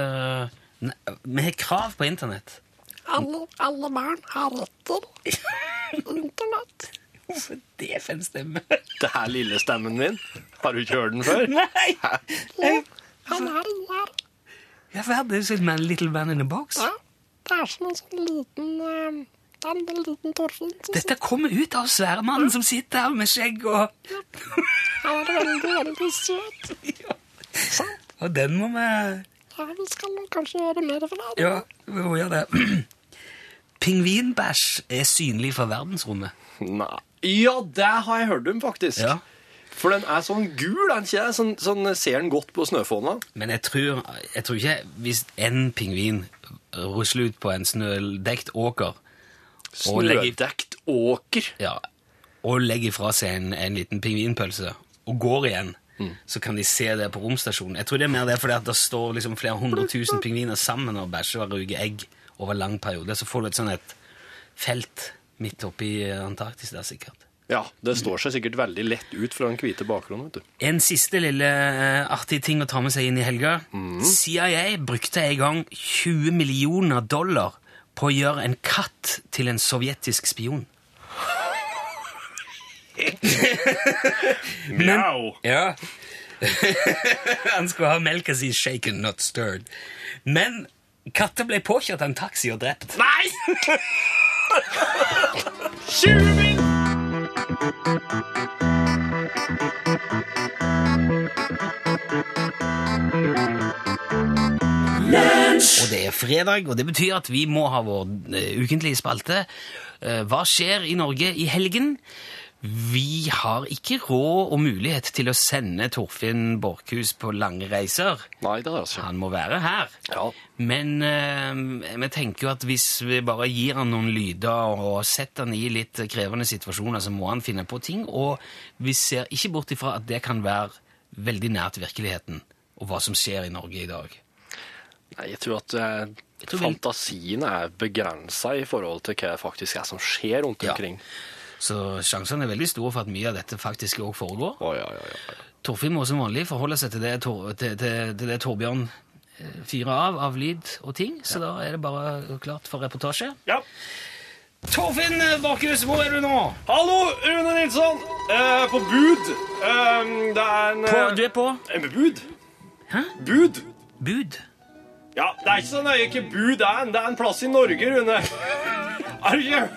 Speaker 2: ne- Vi har krav på internett.
Speaker 7: Alle, alle barn har retter. Internett.
Speaker 2: Hvorfor det FN-stemme?
Speaker 1: Det er lillestemmen min. Har du ikke hørt den før?
Speaker 2: Nei!
Speaker 7: Han har den der.
Speaker 2: Ja, for det er jo sånn man, Little Man in a Box.
Speaker 7: Ja, det er som en sånn liten eh, Det er en liten Torfinn som
Speaker 2: Dette kommer ut av svære mannen som sitter her med skjegg og
Speaker 7: sier han er veldig, veldig søt.
Speaker 2: Og den må vi
Speaker 7: Ja, vi skal nok kanskje gjøre mer for det.
Speaker 2: Ja, vi må gjøre det. Pingvinbæsj er synlig fra verdensrommet.
Speaker 1: Nei. Ja, det har jeg hørt om, faktisk.
Speaker 2: Ja.
Speaker 1: For den er sånn gul, er den ikke? det? Sånn, sånn ser den godt på snøfonna.
Speaker 2: Men jeg tror, jeg tror ikke hvis en pingvin rusler ut på en snødekt åker og legger,
Speaker 1: Snødekt åker.
Speaker 2: ja, og legger fra seg en, en liten pingvinpølse og går igjen, så kan de se det på romstasjonen. Jeg tror det er mer det fordi at det står liksom flere hundre tusen pingviner sammen og bæsjer og ruger egg over lang periode. Så får du et sånn et felt midt oppe i Antarktis der, sikkert.
Speaker 1: Ja, det står seg sikkert veldig lett ut fra den hvite bakgrunnen, vet du.
Speaker 2: En siste lille eh, artig ting å ta med seg inn i helga. CIA brukte en gang 20 millioner dollar på å gjøre en katt til en sovjetisk spion.
Speaker 4: Mjau!
Speaker 2: Ja. Han skulle ha melka si shaken, not stirred. Men katter ble påkjørt av en taxi og drept. Nei! Og det er fredag, og det betyr at vi må ha vår eh, ukentlige spalte. Eh, Hva skjer i Norge i helgen? Vi har ikke råd og mulighet til å sende Torfinn Borkhus på lange reiser.
Speaker 1: Nei, det har jeg ikke.
Speaker 2: Han må være her.
Speaker 1: Ja.
Speaker 2: Men eh, vi tenker jo at hvis vi bare gir han noen lyder og setter han i litt krevende situasjoner, så må han finne på ting. Og vi ser ikke bort ifra at det kan være veldig nært virkeligheten og hva som skjer i Norge i dag.
Speaker 1: Nei, jeg tror at eh,
Speaker 2: tror vel-
Speaker 1: fantasien er begrensa i forhold til hva det faktisk er som skjer rundt
Speaker 2: Ja.
Speaker 1: omkring.
Speaker 2: Så sjansene er veldig store for at mye av dette faktisk òg foregår.
Speaker 1: Å, ja, ja, ja.
Speaker 2: Torfinn må som vanlig forholde seg til det, Tor, til, til, til det Torbjørn eh, fyrer av av lyd og ting, så da er det bare klart for reportasje.
Speaker 4: Ja.
Speaker 2: Torfinn eh, Bakhus, hvor er du nå?
Speaker 1: Hallo, Rune Nilsson! Eh, på bud. Eh, det er en
Speaker 2: På,
Speaker 1: eh,
Speaker 2: du er på
Speaker 1: eh, Bud.
Speaker 2: Hæ?
Speaker 1: Bud.
Speaker 2: bud.
Speaker 1: Ja, det er ikke så nøye hva bud er. Det er en plass i Norge, Rune. Er du ikke?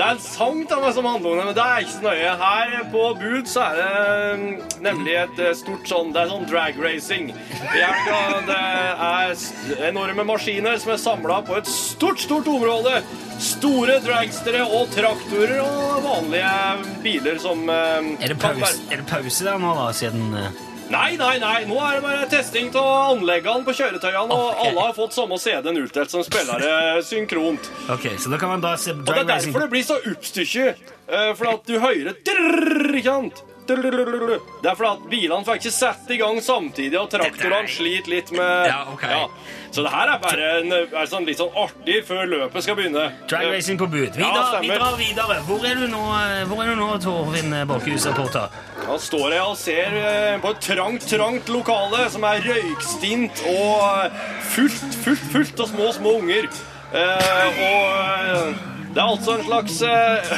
Speaker 1: Det er en sang til meg som handler om det, men det er ikke så nøye. Her på Bud så er det mm, nemlig et eh, stort sånn Det er sånn drag racing. I helga, Det er s- enorme maskiner som er samla på et stort, stort område. Store dragstere og traktorer og vanlige biler som eh,
Speaker 2: Er det,
Speaker 1: kan
Speaker 2: pause, er det pause der nå, da, siden eh,
Speaker 1: Nei, nei, nei. Nå er det bare testing av anleggene på kjøretøyene, og
Speaker 2: Ok.
Speaker 1: alle har fått samme CD-en utdelt som spillere synkront.
Speaker 2: Ok, så da kan man da se
Speaker 1: Og det
Speaker 2: drag
Speaker 1: er
Speaker 2: racing.
Speaker 1: derfor det blir så oppstykke. eh, For at du hører drrrr, ikke sant? Drrrr. Det er fordi at bilene får ikke satt i gang samtidig, og traktorene sliter litt med
Speaker 2: Ja, ok.
Speaker 1: Så det her er bare en, er sånn litt sånn artig før løpet skal begynne.
Speaker 2: Drag
Speaker 1: Eh,
Speaker 2: racing på bud. Vi,
Speaker 1: Ja,
Speaker 2: drar, vi
Speaker 1: stemmer.
Speaker 2: drar videre. Hvor er du nå, eh, hvor er du nå Torfinn eh, Bakhus, reporter?
Speaker 1: Da står jeg og ser eh, på et trangt, trangt lokale som er røykstint og eh, fullt, fullt, fullt av små, små unger. Eh, og eh, det er altså en slags eh,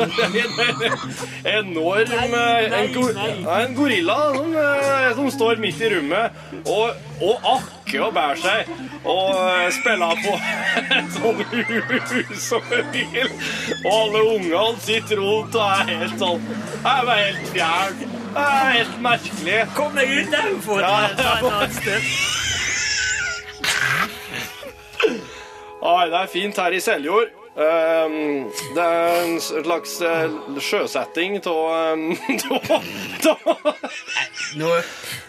Speaker 1: en enorm eh, en, go ja, en gorilla som, eh, som står midt i rommet og, og akker og bærer seg og eh, spiller på et sånt hus og en bil. Og alle ungene sitter rundt og er helt sånn Jeg er bare helt fjern. Det er helt merkelig.
Speaker 2: Kom deg ut der, du får
Speaker 1: Ja,
Speaker 2: ta et annet sted.
Speaker 1: Ai, det er fint her i Seljord. Ehm, det er en slags eh, sjøsetting av ehm,
Speaker 2: Nå
Speaker 1: Nei,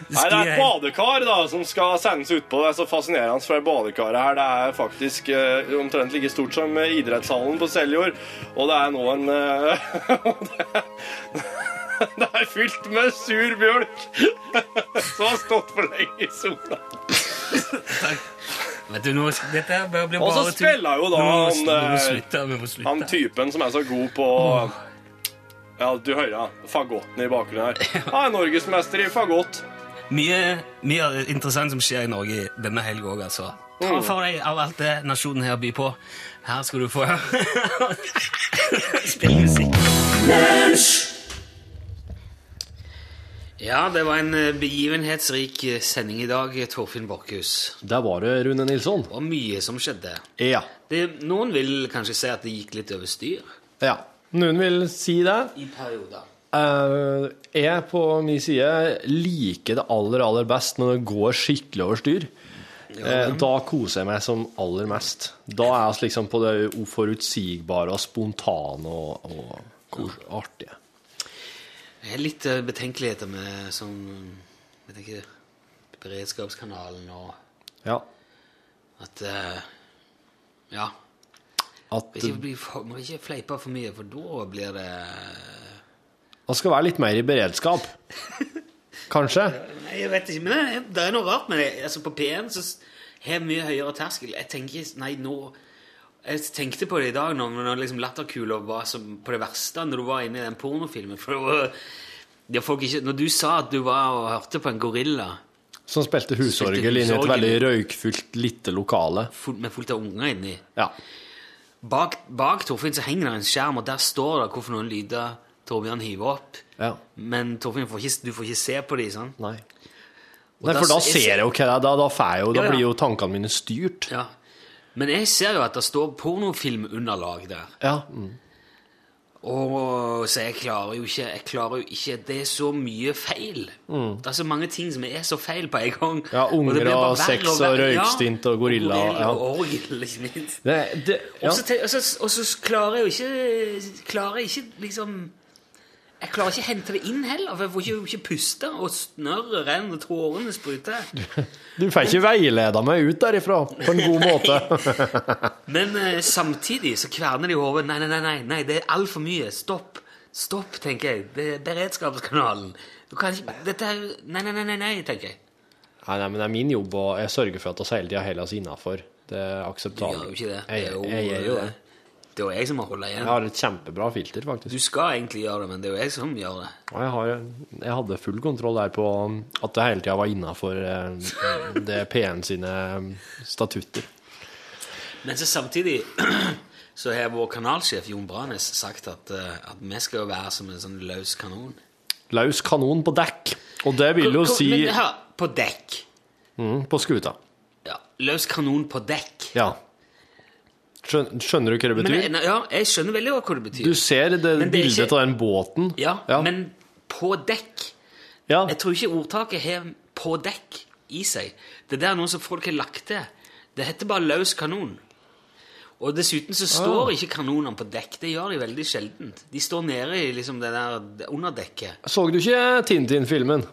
Speaker 1: det
Speaker 2: skal
Speaker 1: er et
Speaker 2: jeg...
Speaker 1: badekar da, som skal sendes utpå. Det er så fascinerende, for det badekaret her det er faktisk eh, omtrent like stort som eh, idrettshallen på Seljord. Og det er nå en eh, og det, er- det er fylt med sur bjølk som har stått for lenge i sola.
Speaker 2: Vet du, nå, dette her blir bare...
Speaker 1: Og så
Speaker 2: tull.
Speaker 1: spiller jo da
Speaker 2: Nå må
Speaker 1: han,
Speaker 2: vi
Speaker 1: eh,
Speaker 2: slutte, vi må slutte.
Speaker 1: Han typen som er så god på Ja, du hører ja, fagotten i bakgrunnen her. Han er norgesmester i fagott.
Speaker 2: Mye, mye interessant som skjer i Norge denne helga òg, altså. Ta
Speaker 1: Mm.
Speaker 2: for deg av alt det nasjonen her byr på. Her skal du få Spill musikk. Ja, det var en eh, begivenhetsrik eh, sending i dag, Torfinn Borchhus.
Speaker 1: Der var det Rune Nilsson.
Speaker 2: Det var mye som skjedde.
Speaker 1: Ja.
Speaker 2: Det, noen vil kanskje si at det gikk litt over styr
Speaker 1: ja. Noen vil si det.
Speaker 2: i perioder.
Speaker 1: Eh, jeg på min side liker det aller, aller best når det går skikkelig over styr. Eh, da koser jeg meg som aller mest. Da er vi liksom på det uforutsigbare og spontane og, og kos- artige.
Speaker 2: Jeg har litt eh, betenkeligheter med sånn Jeg tenker Beredskapskanalen og
Speaker 1: Ja.
Speaker 2: At eh, Ja.
Speaker 1: At
Speaker 2: Ikke bli for, må ikke fleipe for mye, for da blir det
Speaker 1: man skal være litt mer i beredskap. Kanskje.
Speaker 2: Nei, jeg vet ikke, men eh, det, er- det er noe rart med det. Altså, på P1 så s- har jeg mye høyere terskel. Jeg tenker ikke Nei, nå Jeg tenkte på det i dag når, når liksom latterkula var som på det verste når du var inne i den pornofilmen. For det var, det er folk ikke, når du sa at du var og hørte på en gorilla
Speaker 8: Som spilte husorgel
Speaker 2: Spilte
Speaker 8: inne i et
Speaker 2: husorgel.
Speaker 8: veldig røykfullt lite lokale.
Speaker 2: full, med fullt av unger inni
Speaker 8: Ja.
Speaker 2: Bak, bak Torfinn så henger det en skjerm, og der står det hvorfor noen lyder Torbjørn hiver opp.
Speaker 8: ja.
Speaker 2: Men Torfinn får ikke, du får ikke se på dem, sant?
Speaker 8: Nei. Nei,
Speaker 2: da
Speaker 8: for da
Speaker 2: s-
Speaker 8: ser jeg jo hva det er. Da, da, får jeg jo, da
Speaker 2: Ja, ja.
Speaker 8: blir jo tankene mine styrt.
Speaker 2: Ja. Men jeg ser jo at det står pornofilmunderlag der.
Speaker 8: Ja. Mm.
Speaker 2: Og så jeg klarer jo ikke jeg klarer jo ikke, Det er så mye feil. Det er så mange ting som er så feil på en gang.
Speaker 8: Mm. Ja,
Speaker 2: det
Speaker 8: unger
Speaker 2: blir bare
Speaker 8: og
Speaker 2: verre
Speaker 8: sex og
Speaker 2: verre. Ja,
Speaker 8: røykstint og gorilla, ja.
Speaker 2: Og orgel, ikke minst.
Speaker 8: Det, det, ja.
Speaker 2: Og så te- Og så og så klarer jeg jo ikke Klarer jeg ikke liksom Jeg klarer ikke å hente det inn heller, for jeg får ikke, ikke puste, og snørret renner, og tårene spruter.
Speaker 8: Du får ikke veileda meg ut derifra på en god måte.
Speaker 2: Men eh, samtidig så kverner det i hodet. Nei, nei, nei, nei, nei, det er altfor mye. Stopp. Stopp, tenker jeg. Det er beredskapskanalen. Du kan ikke Dette er Nei, nei, nei, nei, nei tenker jeg.
Speaker 8: Nei, nei, men det er min jobb, og jeg sørger for at vi hele tida holder oss innafor. Det er
Speaker 2: Du
Speaker 8: akseptabelt.
Speaker 2: gjør jo ikke det. Det
Speaker 8: Jeg,
Speaker 2: er
Speaker 8: jeg,
Speaker 2: jo, eh,
Speaker 8: gjør jo det.
Speaker 2: Det er jo jeg som må holde igjen.
Speaker 8: Jeg har et kjempebra filter, faktisk.
Speaker 2: Du skal egentlig gjøre det, men det er jo jeg som gjør det.
Speaker 8: Og jeg, har, jeg hadde full kontroll der på um, at det hele tida var innafor eh, det PN sine um, statutter.
Speaker 2: Men så samtidig så har vår kanalsjef Jon Branes sagt at, eh, at vi skal jo være som en sånn løs kanon.
Speaker 8: Løs kanon på dekk. Og det vil jo
Speaker 2: Hvor- hvor-
Speaker 8: si
Speaker 2: Men hør, på dekk.
Speaker 8: mm, på skuta.
Speaker 2: Ja, løs kanon på dekk.
Speaker 8: Ja. Skjøn- Skjønner du hva det
Speaker 2: Men
Speaker 8: betyr?
Speaker 2: jeg, nei, ja, jeg skjønner veldig godt hva det betyr.
Speaker 8: Du ser det
Speaker 2: Men det er
Speaker 8: bildet
Speaker 2: ikke-
Speaker 8: av den båten.
Speaker 2: Ja,
Speaker 8: ja.
Speaker 2: men på dekk.
Speaker 8: ja.
Speaker 2: Jeg tror ikke ordtaket har 'på dekk' i seg. Det der er noe som folk har lagt til. Det heter bare 'løs kanon'. Og dessuten så
Speaker 8: Ah.
Speaker 2: står ikke kanonene på dekk. Det gjør de veldig sjeldent. De står nede i liksom det der underdekket.
Speaker 8: Så du ikke Tintin-filmen?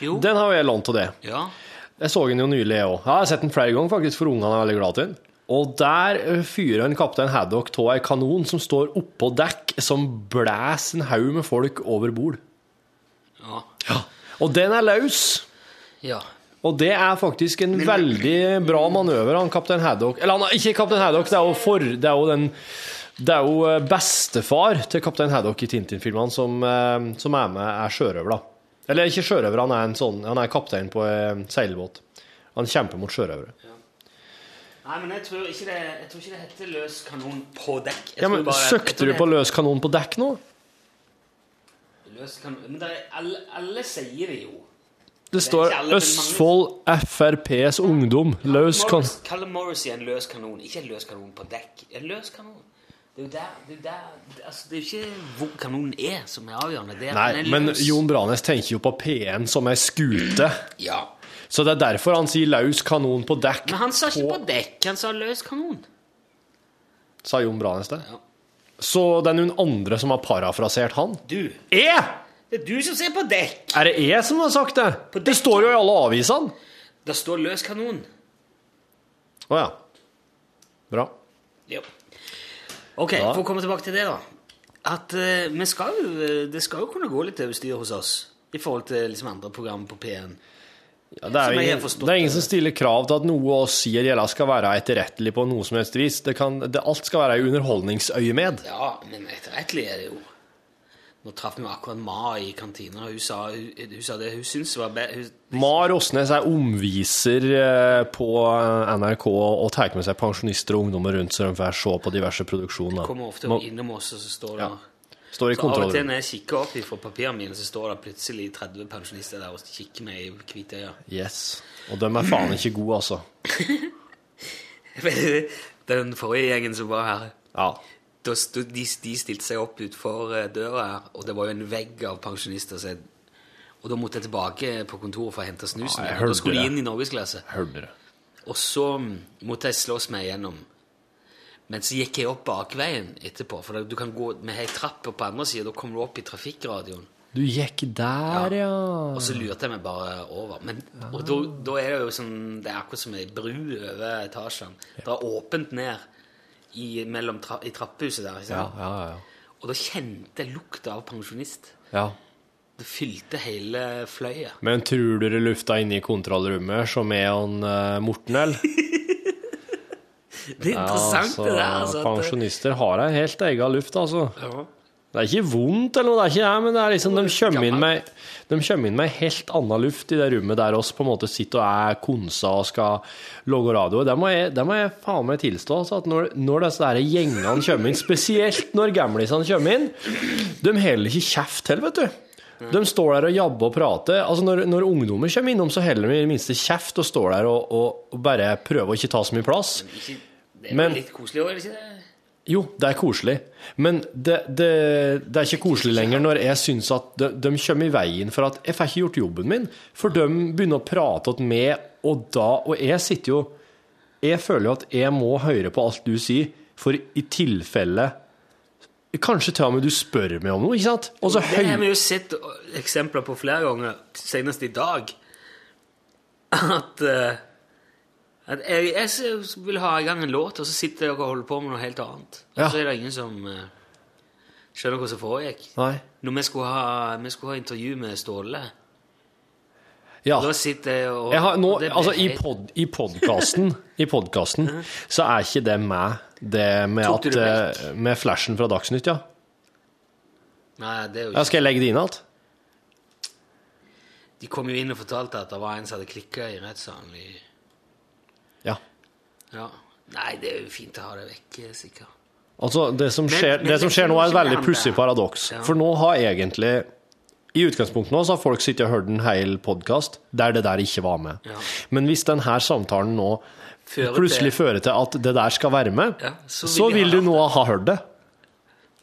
Speaker 2: Jo.
Speaker 8: Den har jo jeg lånt av det.
Speaker 2: Ja.
Speaker 8: Jeg så den jo nylig, jeg òg. Jeg har sett den flere ganger, faktisk, for ungene er veldig glad i den. Og der ø, fyrer en kaptein Haddock av ei kanon som står oppå dekk, som blæser en haug med folk over bord.
Speaker 2: Ja.
Speaker 8: Og den er løs!
Speaker 2: ja.
Speaker 8: Og det er faktisk en veldig bra manøver, han kaptein Haddock Eller han er ikke kaptein Haddock, det er jo, for, det er jo den det er jo ø, bestefar til kaptein Haddock i Tintin-filmene som, ø, som er med, er sjørøver, da. Eller ikke sjørøver, han er, en sånn, han er kaptein på ø, seilbåt. Han kjemper mot sjørøvere.
Speaker 2: Nei, men jeg tror ikke det, jeg tror ikke det heter 'løs kanon på dekk'. Jeg
Speaker 8: Ja,
Speaker 2: tror
Speaker 8: men
Speaker 2: bare- jeg
Speaker 8: Søkte
Speaker 2: tror
Speaker 8: du
Speaker 2: det
Speaker 8: på
Speaker 2: heter
Speaker 8: løs kanon på dekk nå?
Speaker 2: løs kanon? Men det er, alle, alle sier det jo.
Speaker 8: Det står
Speaker 2: ikke alle, men mange-
Speaker 8: Østfold FrPs Ungdom. Løs kanon.
Speaker 2: Morris, Kalle Morrissey en løs kanon. Ikke en løs kanon på dekk. En løs kanon. Det er jo der, det er jo der altså, Det er jo ikke hvor kanonen er, som er avgjørende. Det er, at
Speaker 8: Nei,
Speaker 2: den er
Speaker 8: men
Speaker 2: løs.
Speaker 8: Jon Branes tenker jo på P1 som ei skute.
Speaker 2: Ja.
Speaker 8: Så det er derfor han sier løs kanon på dekk,
Speaker 2: Men han sa ikke på dekk, han sa løs kanon.
Speaker 8: sa Jon Branes det.
Speaker 2: Ja.
Speaker 8: Så det er noen andre som har parafrasert han.
Speaker 2: Du.
Speaker 8: Jeg!
Speaker 2: Det er du som ser på dekk!
Speaker 8: E? Er det jeg som har sagt det?
Speaker 2: På
Speaker 8: Det
Speaker 2: dekk.
Speaker 8: står jo i alle avisene.
Speaker 2: Det står løs kanon.
Speaker 8: Å ja. Bra.
Speaker 2: Jo. Ok, for å komme tilbake til det, da. At eh, vi skal jo, eh, Det skal jo kunne gå litt over styr hos oss i forhold til liksom, andre program på P1.
Speaker 8: Ja, det, er
Speaker 2: Som
Speaker 8: jo
Speaker 2: jeg har
Speaker 8: ingen,
Speaker 2: forstått
Speaker 8: det er ingen
Speaker 2: det.
Speaker 8: som stiller krav til at noe oss sier gjelder skal være etterrettelig på noe som helst vis. Det kan, det, alt skal være i underholdningsøyemed.
Speaker 2: Ja, men etterrettelig er det jo. Nå traff vi jo akkurat Ma i kantina, og hun sa, hun, hun sa det hun syntes var be... Hun,
Speaker 8: Mar Osnes er omviser eh, på NRK og tar med seg pensjonister og ungdommer rundt så de får se på diverse produksjoner.
Speaker 2: kommer ofte
Speaker 8: Må-
Speaker 2: innom oss, og så står det
Speaker 8: Ja. Står i
Speaker 2: Så av og til
Speaker 8: kontrollrommet.
Speaker 2: når jeg kikker opp fra papirene mine, så står det plutselig 30 pensjonister der og kikker meg i hvitøya.
Speaker 8: Yes. Og de er faen ikke gode, altså.
Speaker 2: Den forrige gjengen som var her,
Speaker 8: Ja.
Speaker 2: da stod, de, de stilte seg opp utenfor eh, døra her, og det var jo en vegg av pensjonister. Så jeg, og da måtte jeg tilbake på kontoret for å hente snusen.
Speaker 8: Ja, jeg
Speaker 2: min, og
Speaker 8: hørte
Speaker 2: da skulle
Speaker 8: det.
Speaker 2: de inn i norgesklasse.
Speaker 8: Hørte det.
Speaker 2: Og så mm, måtte jeg slåss meg igjennom. Men så gikk jeg opp bakveien etterpå, for du kan gå med ei trapp på andre sida, da kommer du opp i trafikkradioen.
Speaker 8: Du gikk der, ja.
Speaker 2: Og så lurte jeg meg bare over. Men,
Speaker 8: Ah.
Speaker 2: og da, da er det jo sånn Det er akkurat som ei bru over etasjene. Det er åpent ned i, mellom tra, i trapphuset der. Ikke
Speaker 8: Ja,
Speaker 2: sant?
Speaker 8: ja, ja.
Speaker 2: Og da kjente jeg lukta av pensjonist.
Speaker 8: ja.
Speaker 2: Det fylte hele fløya.
Speaker 8: Men tror dere lufta inne i kontrollrommet som er han eh, Morten, eller?
Speaker 1: Det er interessant, det der. Altså, at,
Speaker 8: Pensjonister har ei helt ega luft, altså. Det er ikke vondt, eller noe, det er ikke det, men det er liksom, de kommer inn med de kommer inn med ei helt anna luft i det rommet der oss på en måte sitter og er konsa og skal lage radio. Det må jeg, det må jeg faen meg tilstå. Altså, at når, når disse der gjengene kommer inn, spesielt når gamlisene kommer inn, de holder ikke kjeft til, vet du. De står der og jabber og prater. Altså når, når ungdommer kommer innom, så holder de i det minste kjeft og står der og, og, og bare prøver å ikke ta så mye plass.
Speaker 1: det er
Speaker 8: men-
Speaker 1: jo litt koselig òg, er det ikke det?
Speaker 8: Jo, det er koselig, men det, det, det er ikke koselig lenger når jeg syns at de, de kommer i veien for at jeg får ikke gjort jobben min, for de begynner å prate til meg, og da Og jeg sitter jo Jeg føler jo at jeg må høre på alt du sier, for i tilfelle Kanskje til og med du spør meg om noe, ikke sant? Og så
Speaker 2: Det har
Speaker 8: høy...
Speaker 2: vi jo sett eksempler på flere ganger, senest i dag. At, eh, at jeg, jeg s- vil ha i gang en låt, og så sitter jeg og holder på med noe helt annet. Og
Speaker 8: Ja.
Speaker 2: så er det ingen som eh, skjønner hva som foregikk.
Speaker 8: Nei.
Speaker 2: Når vi skulle ha, vi skulle ha intervju med Ståle,
Speaker 8: Ja.
Speaker 2: da sitter jeg og
Speaker 8: Jeg har, nå,
Speaker 2: og det blir
Speaker 8: altså, I,
Speaker 2: helt-
Speaker 8: pod, i podkasten I podcasten så er ikke det meg, det med,
Speaker 2: Tok du
Speaker 8: at,
Speaker 2: det
Speaker 8: eh, med flashen fra Dagsnytt, ja.
Speaker 2: Nei, det er jo
Speaker 8: ja.
Speaker 2: ikke
Speaker 8: Skal jeg legge det inn igjen?
Speaker 2: De kom jo inn og fortalte at det var en som hadde klikka i rettssalen i
Speaker 8: Ja.
Speaker 2: Ja. Nei, det er jo fint å ha det vekk, eh, sikkert.
Speaker 8: Altså, det som
Speaker 2: Men-
Speaker 8: skjer,
Speaker 2: men
Speaker 8: det som
Speaker 2: det
Speaker 8: skjer nå,
Speaker 2: kan
Speaker 8: er
Speaker 2: jo
Speaker 8: et veldig
Speaker 2: ikke
Speaker 8: pussig
Speaker 2: hende.
Speaker 8: paradoks.
Speaker 2: Ja.
Speaker 8: For nå har egentlig I utgangspunktet nå så har folk sittet og hørt en hel podkast der det der ikke var med.
Speaker 2: Ja.
Speaker 8: Men hvis denne samtalen nå
Speaker 2: Fører til-
Speaker 8: plutselig fører til at det der skal være med,
Speaker 2: Ja, så
Speaker 8: så,
Speaker 2: vil
Speaker 8: vil
Speaker 2: de ha
Speaker 8: du nå ha hørt det.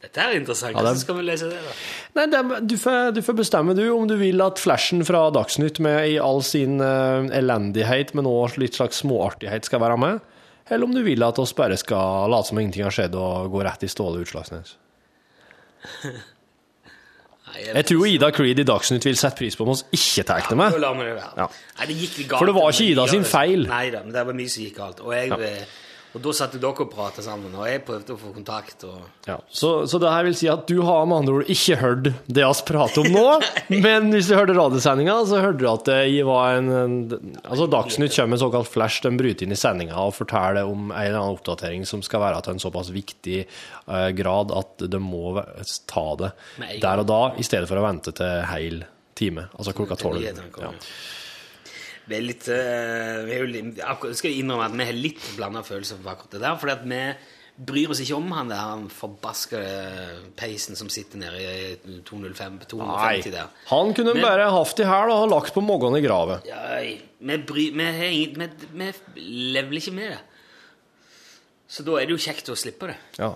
Speaker 2: Dette er interessant.
Speaker 8: Ja, det er-
Speaker 2: Hvordan skal vi lese det, da?
Speaker 8: Nei, det, er- du, får, du får bestemme du om du vil at flashen fra Dagsnytt med i all sin eh, elendighet, men også litt slags småartighet, skal være med. Eller om du vil at oss bare skal late som ingenting har skjedd og gå rett i Ståle Utslagsnes.
Speaker 2: Nei, jeg
Speaker 8: Jeg tror Ida Creed i Dagsnytt vil sette pris på om oss ikke tar det med.
Speaker 2: Da lar vi det være.
Speaker 8: Ja.
Speaker 2: Nei, det gikk litt galt.
Speaker 8: For det var ikke Ida sin feil.
Speaker 2: Nei da, men det var mye som gikk galt. Og, jeg, eh, og da satt jo dere og pratet sammen, og jeg prøvde å få kontakt. Og...
Speaker 8: Ja. Så, så det her vil si at du har med andre ord ikke hørt det oss prater om nå, men hvis du hørte radiosendinga, så hørte du at det var en, en Altså, Dagsnytt kommer med en såkalt flash, den bryter inn i sendinga og forteller om en eller annen oppdatering som skal være til en såpass viktig eh, grad at de må ve- ta det
Speaker 2: Med en gang.
Speaker 8: der og da, i stedet for å vente til heil time, altså klokka tolv.
Speaker 2: Nyhetene kom,
Speaker 8: Ja.
Speaker 2: ja. Vi er litt, eh, vi er jo litt akkurat, Skal jeg innrømme at vi har litt blanda følelser for akkurat det der. fordi at vi bryr oss ikke om han der han forbaska peisen som sitter nede i 205, 250
Speaker 8: Nei.
Speaker 2: der.
Speaker 8: Han kunne
Speaker 2: Men-
Speaker 8: bare hatt de her da, og lagt på magen i graven.
Speaker 2: Nei, vi, bry, vi, har ingen, vi, vi leveler ikke med det. Så da er det jo kjekt å slippe det.
Speaker 8: Ja.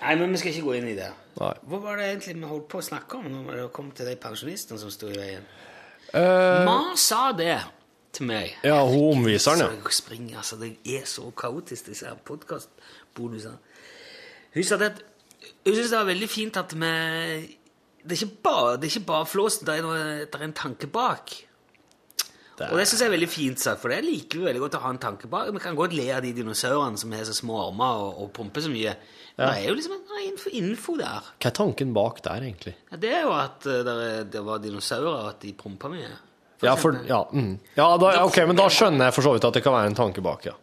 Speaker 2: Nei, men vi skal ikke gå inn i det.
Speaker 8: Nei.
Speaker 2: Hva var det egentlig vi holdt på å snakke om når det kom til de pensjonistene som sto i veien?
Speaker 8: Eh,
Speaker 2: Ma sa det til meg.
Speaker 8: Ja, hun omviser den, ja.
Speaker 2: Så jeg springer, altså, det er så kaotisk, disse her podkastbonusene. Hun sa det at hun syns det var veldig fint at vi Det er ikke bare, det er ikke bare flås, det er, noe, det er en tanke bak. Og det syns jeg er veldig fint sagt, for det liker vi veldig godt å ha en tanke bak. Vi kan godt le av de dinosaurene som har så små armer og, og pumper så mye. Men det er jo liksom en info, info der.
Speaker 8: Hva er tanken bak der, egentlig?
Speaker 2: Ja, det er jo at eh, der er- det var dinosaurer, og at de pumpa mye.
Speaker 8: Ja, for, ja, mm. ja da, ja, ok, men da skjønner jeg for så vidt at det kan være en tanke bak, ja.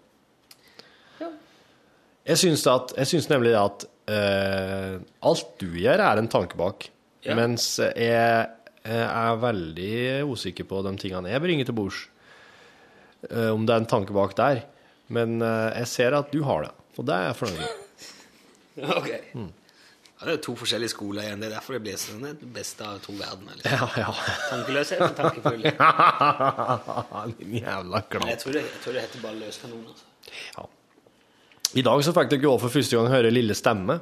Speaker 8: Jeg syns, det at, jeg syns nemlig det at eh, alt du gjør, er en tanke bak.
Speaker 2: Ja.
Speaker 8: Mens jeg, eh, er veldig usikker på de tingene jeg bringer til bords. Eh, om det er en tanke bak der. Men eh, jeg ser at du har det, og det er jeg fornøyd med.
Speaker 2: Ok.
Speaker 8: Mm.
Speaker 2: Ja, det er to forskjellige skoler igjen. Det er derfor det blir sånn det beste av to verdener. Liksom.
Speaker 8: Ja, ja.
Speaker 2: Tankeløse og tankefulle.
Speaker 8: Din jævla klamp.
Speaker 2: Jeg tror det, jeg tror det heter bare løskanon. Altså.
Speaker 8: Ja. I dag så fikk dere jo også for første gang høre Lille stemme.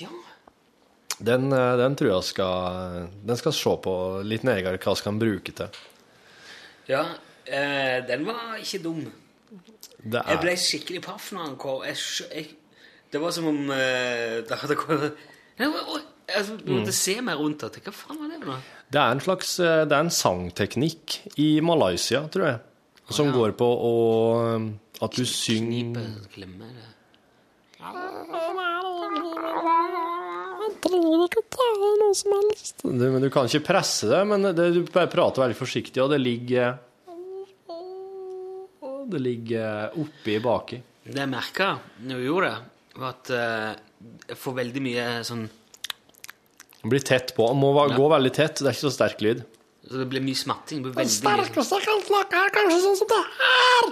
Speaker 2: Ja.
Speaker 8: Den, eh, den tror jeg skal Den skal se på litt nærmere hva skal den bruke til.
Speaker 2: ja eh, den var ikke dum.
Speaker 8: Det
Speaker 2: Jeg ble
Speaker 8: er
Speaker 2: skikkelig paff når han kom. Jeg, skjø- jeg, det var som om eh, det hadde kommet Nei, oi, oi, Jeg altså,
Speaker 8: Mm.
Speaker 2: måtte se meg rundt og tenke Hva faen var det for noe?
Speaker 8: Det er en slags eh, Det er en sangteknikk i Malaysia, tror jeg, som går på å eh, At du synger
Speaker 2: Knipe, klemme det.
Speaker 9: Jeg trenger ikke å tale noe som helst.
Speaker 8: du, men du kan ikke presse det, men det, du bare prater veldig forsiktig, og det ligger Det ligger oppi baki.
Speaker 2: Det jeg merka når vi gjorde det, var at eh, jeg får veldig mye sånn
Speaker 8: Den blir tett på. Den må va- gå veldig tett. Det er ikke så sterk lyd.
Speaker 2: Så det blir mye smatting. Det blir veldig mye sånn-
Speaker 1: Sterkeste jeg kan snakke, er kanskje sånn som det her.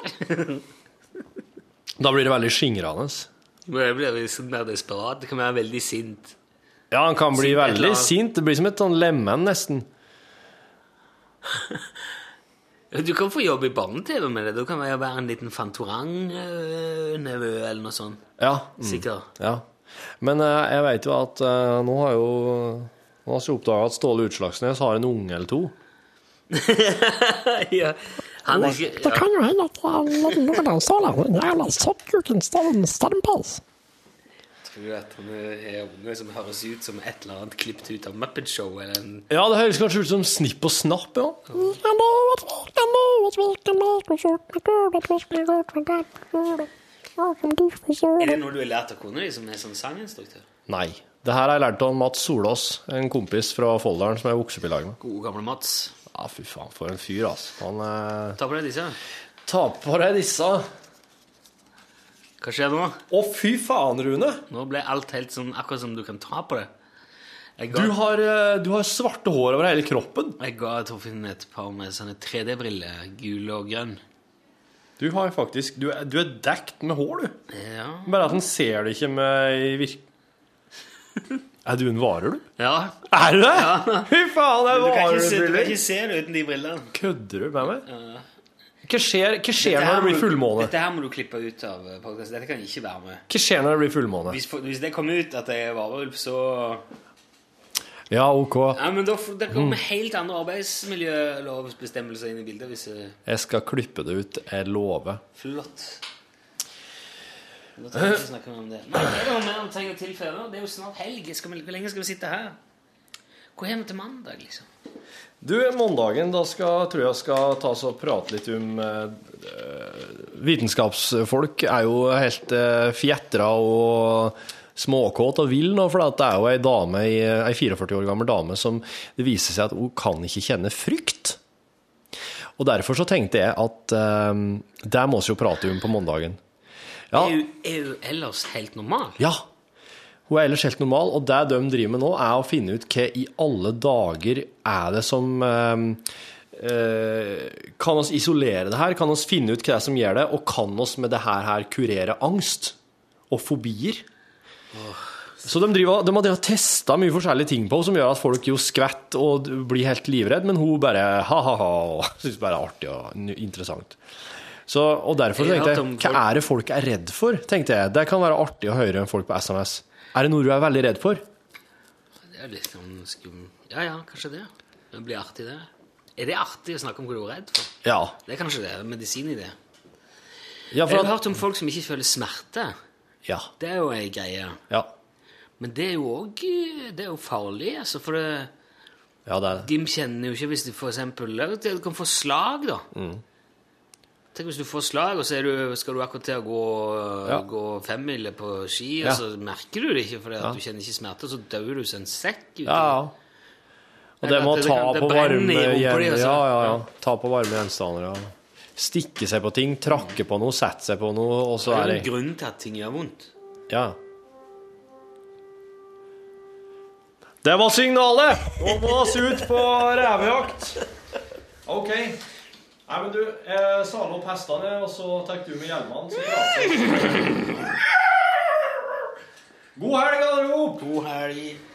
Speaker 8: Da blir det veldig skingrende.
Speaker 2: Men jeg blir litt sånn mer desperat. Det kan være veldig sint.
Speaker 8: Ja, han kan bli
Speaker 2: Sint et eller
Speaker 8: veldig
Speaker 2: annet.
Speaker 8: sint. Det blir som et sånn lemen, nesten.
Speaker 2: Du kan få jobb i barne-TV med det. Du kan være være en liten Fantorang-nevø eller noe sånt.
Speaker 8: Ja. Mm.
Speaker 2: Sikkert.
Speaker 8: ja. Men eh, jeg vet jo at eh, nå har jo Nå har jeg oppdaga at Ståle Utslagsnes har en unge eller to.
Speaker 2: ja. Han er
Speaker 1: Det
Speaker 2: ikke ja.
Speaker 1: kan jo hende at jeg lader noen av sånne. En jævla soppkuken storm, stormpass.
Speaker 2: Tror du at han er unge som høres ut som et eller annet klippet ut av Muppet Show eller en
Speaker 8: Ja, det høres kanskje ut som Snipp og Snapp, ja.
Speaker 1: Jeg nå vet vi, jeg nå vet vi, jeg nå vet vi, jeg nå vet vi, jeg nå vet vi, jeg nå vet vi, jeg nå
Speaker 2: Er
Speaker 1: vet vi.
Speaker 2: det noe du har lært av kona di, som er sånn sanginstruktør?
Speaker 8: Nei. Det her har jeg lært av Mats Solås, en kompis fra Folldalen som jeg vokste opp i lag med.
Speaker 2: Gode, gamle Mats.
Speaker 8: Ja, fy faen, for en fyr, altså. Han eh...
Speaker 2: Ta på deg disse.
Speaker 8: Ta på deg disse. Å,
Speaker 2: Hva skjer nå?
Speaker 8: fy faen, Rune!
Speaker 2: Nå ble alt helt sånn akkurat som du kan ta på det. Jeg
Speaker 8: Du
Speaker 2: ga,
Speaker 8: har, eh, du har svarte hår over hele kroppen.
Speaker 2: jeg ga Torfinn et par med sånne 3D-briller, gul og grønn.
Speaker 8: Du har faktisk Du er, du er dekt med hår, du.
Speaker 2: Ja.
Speaker 8: Bare at den ser det ikke med i virk... Er du en varer, du?
Speaker 2: ja.
Speaker 8: Er du det?! Fy faen, det er
Speaker 2: Du kan, ikke se, du kan
Speaker 8: varer!
Speaker 2: ikke se det uten de brillene.
Speaker 8: Kødder du med meg? Hva skjer, hva skjer når
Speaker 2: Dette her
Speaker 8: det
Speaker 2: må
Speaker 8: blir
Speaker 2: du-
Speaker 8: fullmåne?
Speaker 2: Dette her må du klippe ut av podkasten. Dette kan ikke være med.
Speaker 8: Hva skjer når det blir fullmåne?
Speaker 2: Hvis, hvis det kommer ut at jeg er varulv, så
Speaker 8: Ja, ok.
Speaker 2: Ja, men da får- det kommer helt andre arbeidsmiljølovsbestemmelser inn i bildet. hvis... eh,
Speaker 8: Jeg skal klippe det ut. Jeg lover.
Speaker 2: Flott. Da trenger vi ikke snakke mer om det. Nei, det er noe mer om ting å tilføye. nå. Det er jo snart helg. Skal vi, hvor lenge skal vi sitte her? Hvor er vi til mandag, liksom?
Speaker 8: Du, mandagen, da skal, tror jeg jeg skal ta oss og prate litt om eh, Vitenskapsfolk er jo helt eh, fjetra og småkåt og vill nå, for at det er jo ei dame, i- ei 44 år gammel dame som det viser seg at hun kan ikke kjenne frykt. Og derfor så tenkte jeg at eh, det må vi jo prate om på mandagen. Ja.
Speaker 2: Er, hun, er hun ellers helt normal?
Speaker 8: Ja. Hun er ellers helt normal, og det de driver med nå, er å finne ut hva i alle dager er det som eh, eh, Kan oss isolere det her? Kan oss finne ut hva det er som gjør det? Og kan oss med det her, her kurere angst og fobier? Så de, driver, de har drevet og testa mye forskjellige ting på henne som gjør at folk jo skvetter og blir helt livredd, men hun bare ha-ha-ha og syns bare det er artig og n- interessant. Så, og derfor så
Speaker 2: Jeg har
Speaker 8: tenkte
Speaker 2: hørt om
Speaker 8: jeg hva
Speaker 2: folk-
Speaker 8: er det folk er redd for? tenkte jeg. Det kan være artig å høre folk på SMS. Er det noe du er veldig redd for?
Speaker 2: Det er litt sånn skum... Ja ja, kanskje det. Det blir artig, det. Er det artig å snakke om hva du er redd for?
Speaker 8: Ja.
Speaker 2: Det er kanskje det. Medisin i det.
Speaker 8: Ja,
Speaker 2: Jeg
Speaker 8: for
Speaker 2: har
Speaker 8: at,
Speaker 2: hørt om folk som ikke føler smerte.
Speaker 8: ja,
Speaker 2: Det er jo ei greie.
Speaker 8: ja,
Speaker 2: Men det er jo òg Det er jo farlig, altså, for det
Speaker 8: ja, det er det.
Speaker 2: De kjenner jo ikke hvis de for eksempel Du kan få slag, da.
Speaker 8: Mm.
Speaker 2: Tenk hvis du får slag, og så er du, skal du akkurat til å gå,
Speaker 8: Ja.
Speaker 2: gå femmile på ski,
Speaker 8: Ja.
Speaker 2: og så merker du det ikke fordi at du kjenner ikke smerte, og så dør du som en sekk. uten-
Speaker 8: Ja, ja. Og det
Speaker 2: Eller
Speaker 8: må
Speaker 2: at det
Speaker 8: ta
Speaker 2: kan- det
Speaker 8: på
Speaker 2: brenner i
Speaker 8: varme
Speaker 2: rumpa di,
Speaker 8: gjenstander.
Speaker 2: altså.
Speaker 8: Ja, ja, ja. Ta på varme gjenstander. Ja. Stikke seg på ting, trakke på noe, sette seg på noe, og så
Speaker 2: Det
Speaker 8: er
Speaker 2: er jo
Speaker 8: det
Speaker 2: en grunn til at ting gjør vondt.
Speaker 8: Ja. Det var signalet! Nå må oss ut på revejakt. OK. Nei, men du, eh, sale opp hestene, og så tar du med hjelmene. Så prater vi. God helg, alle rop!
Speaker 2: God helg.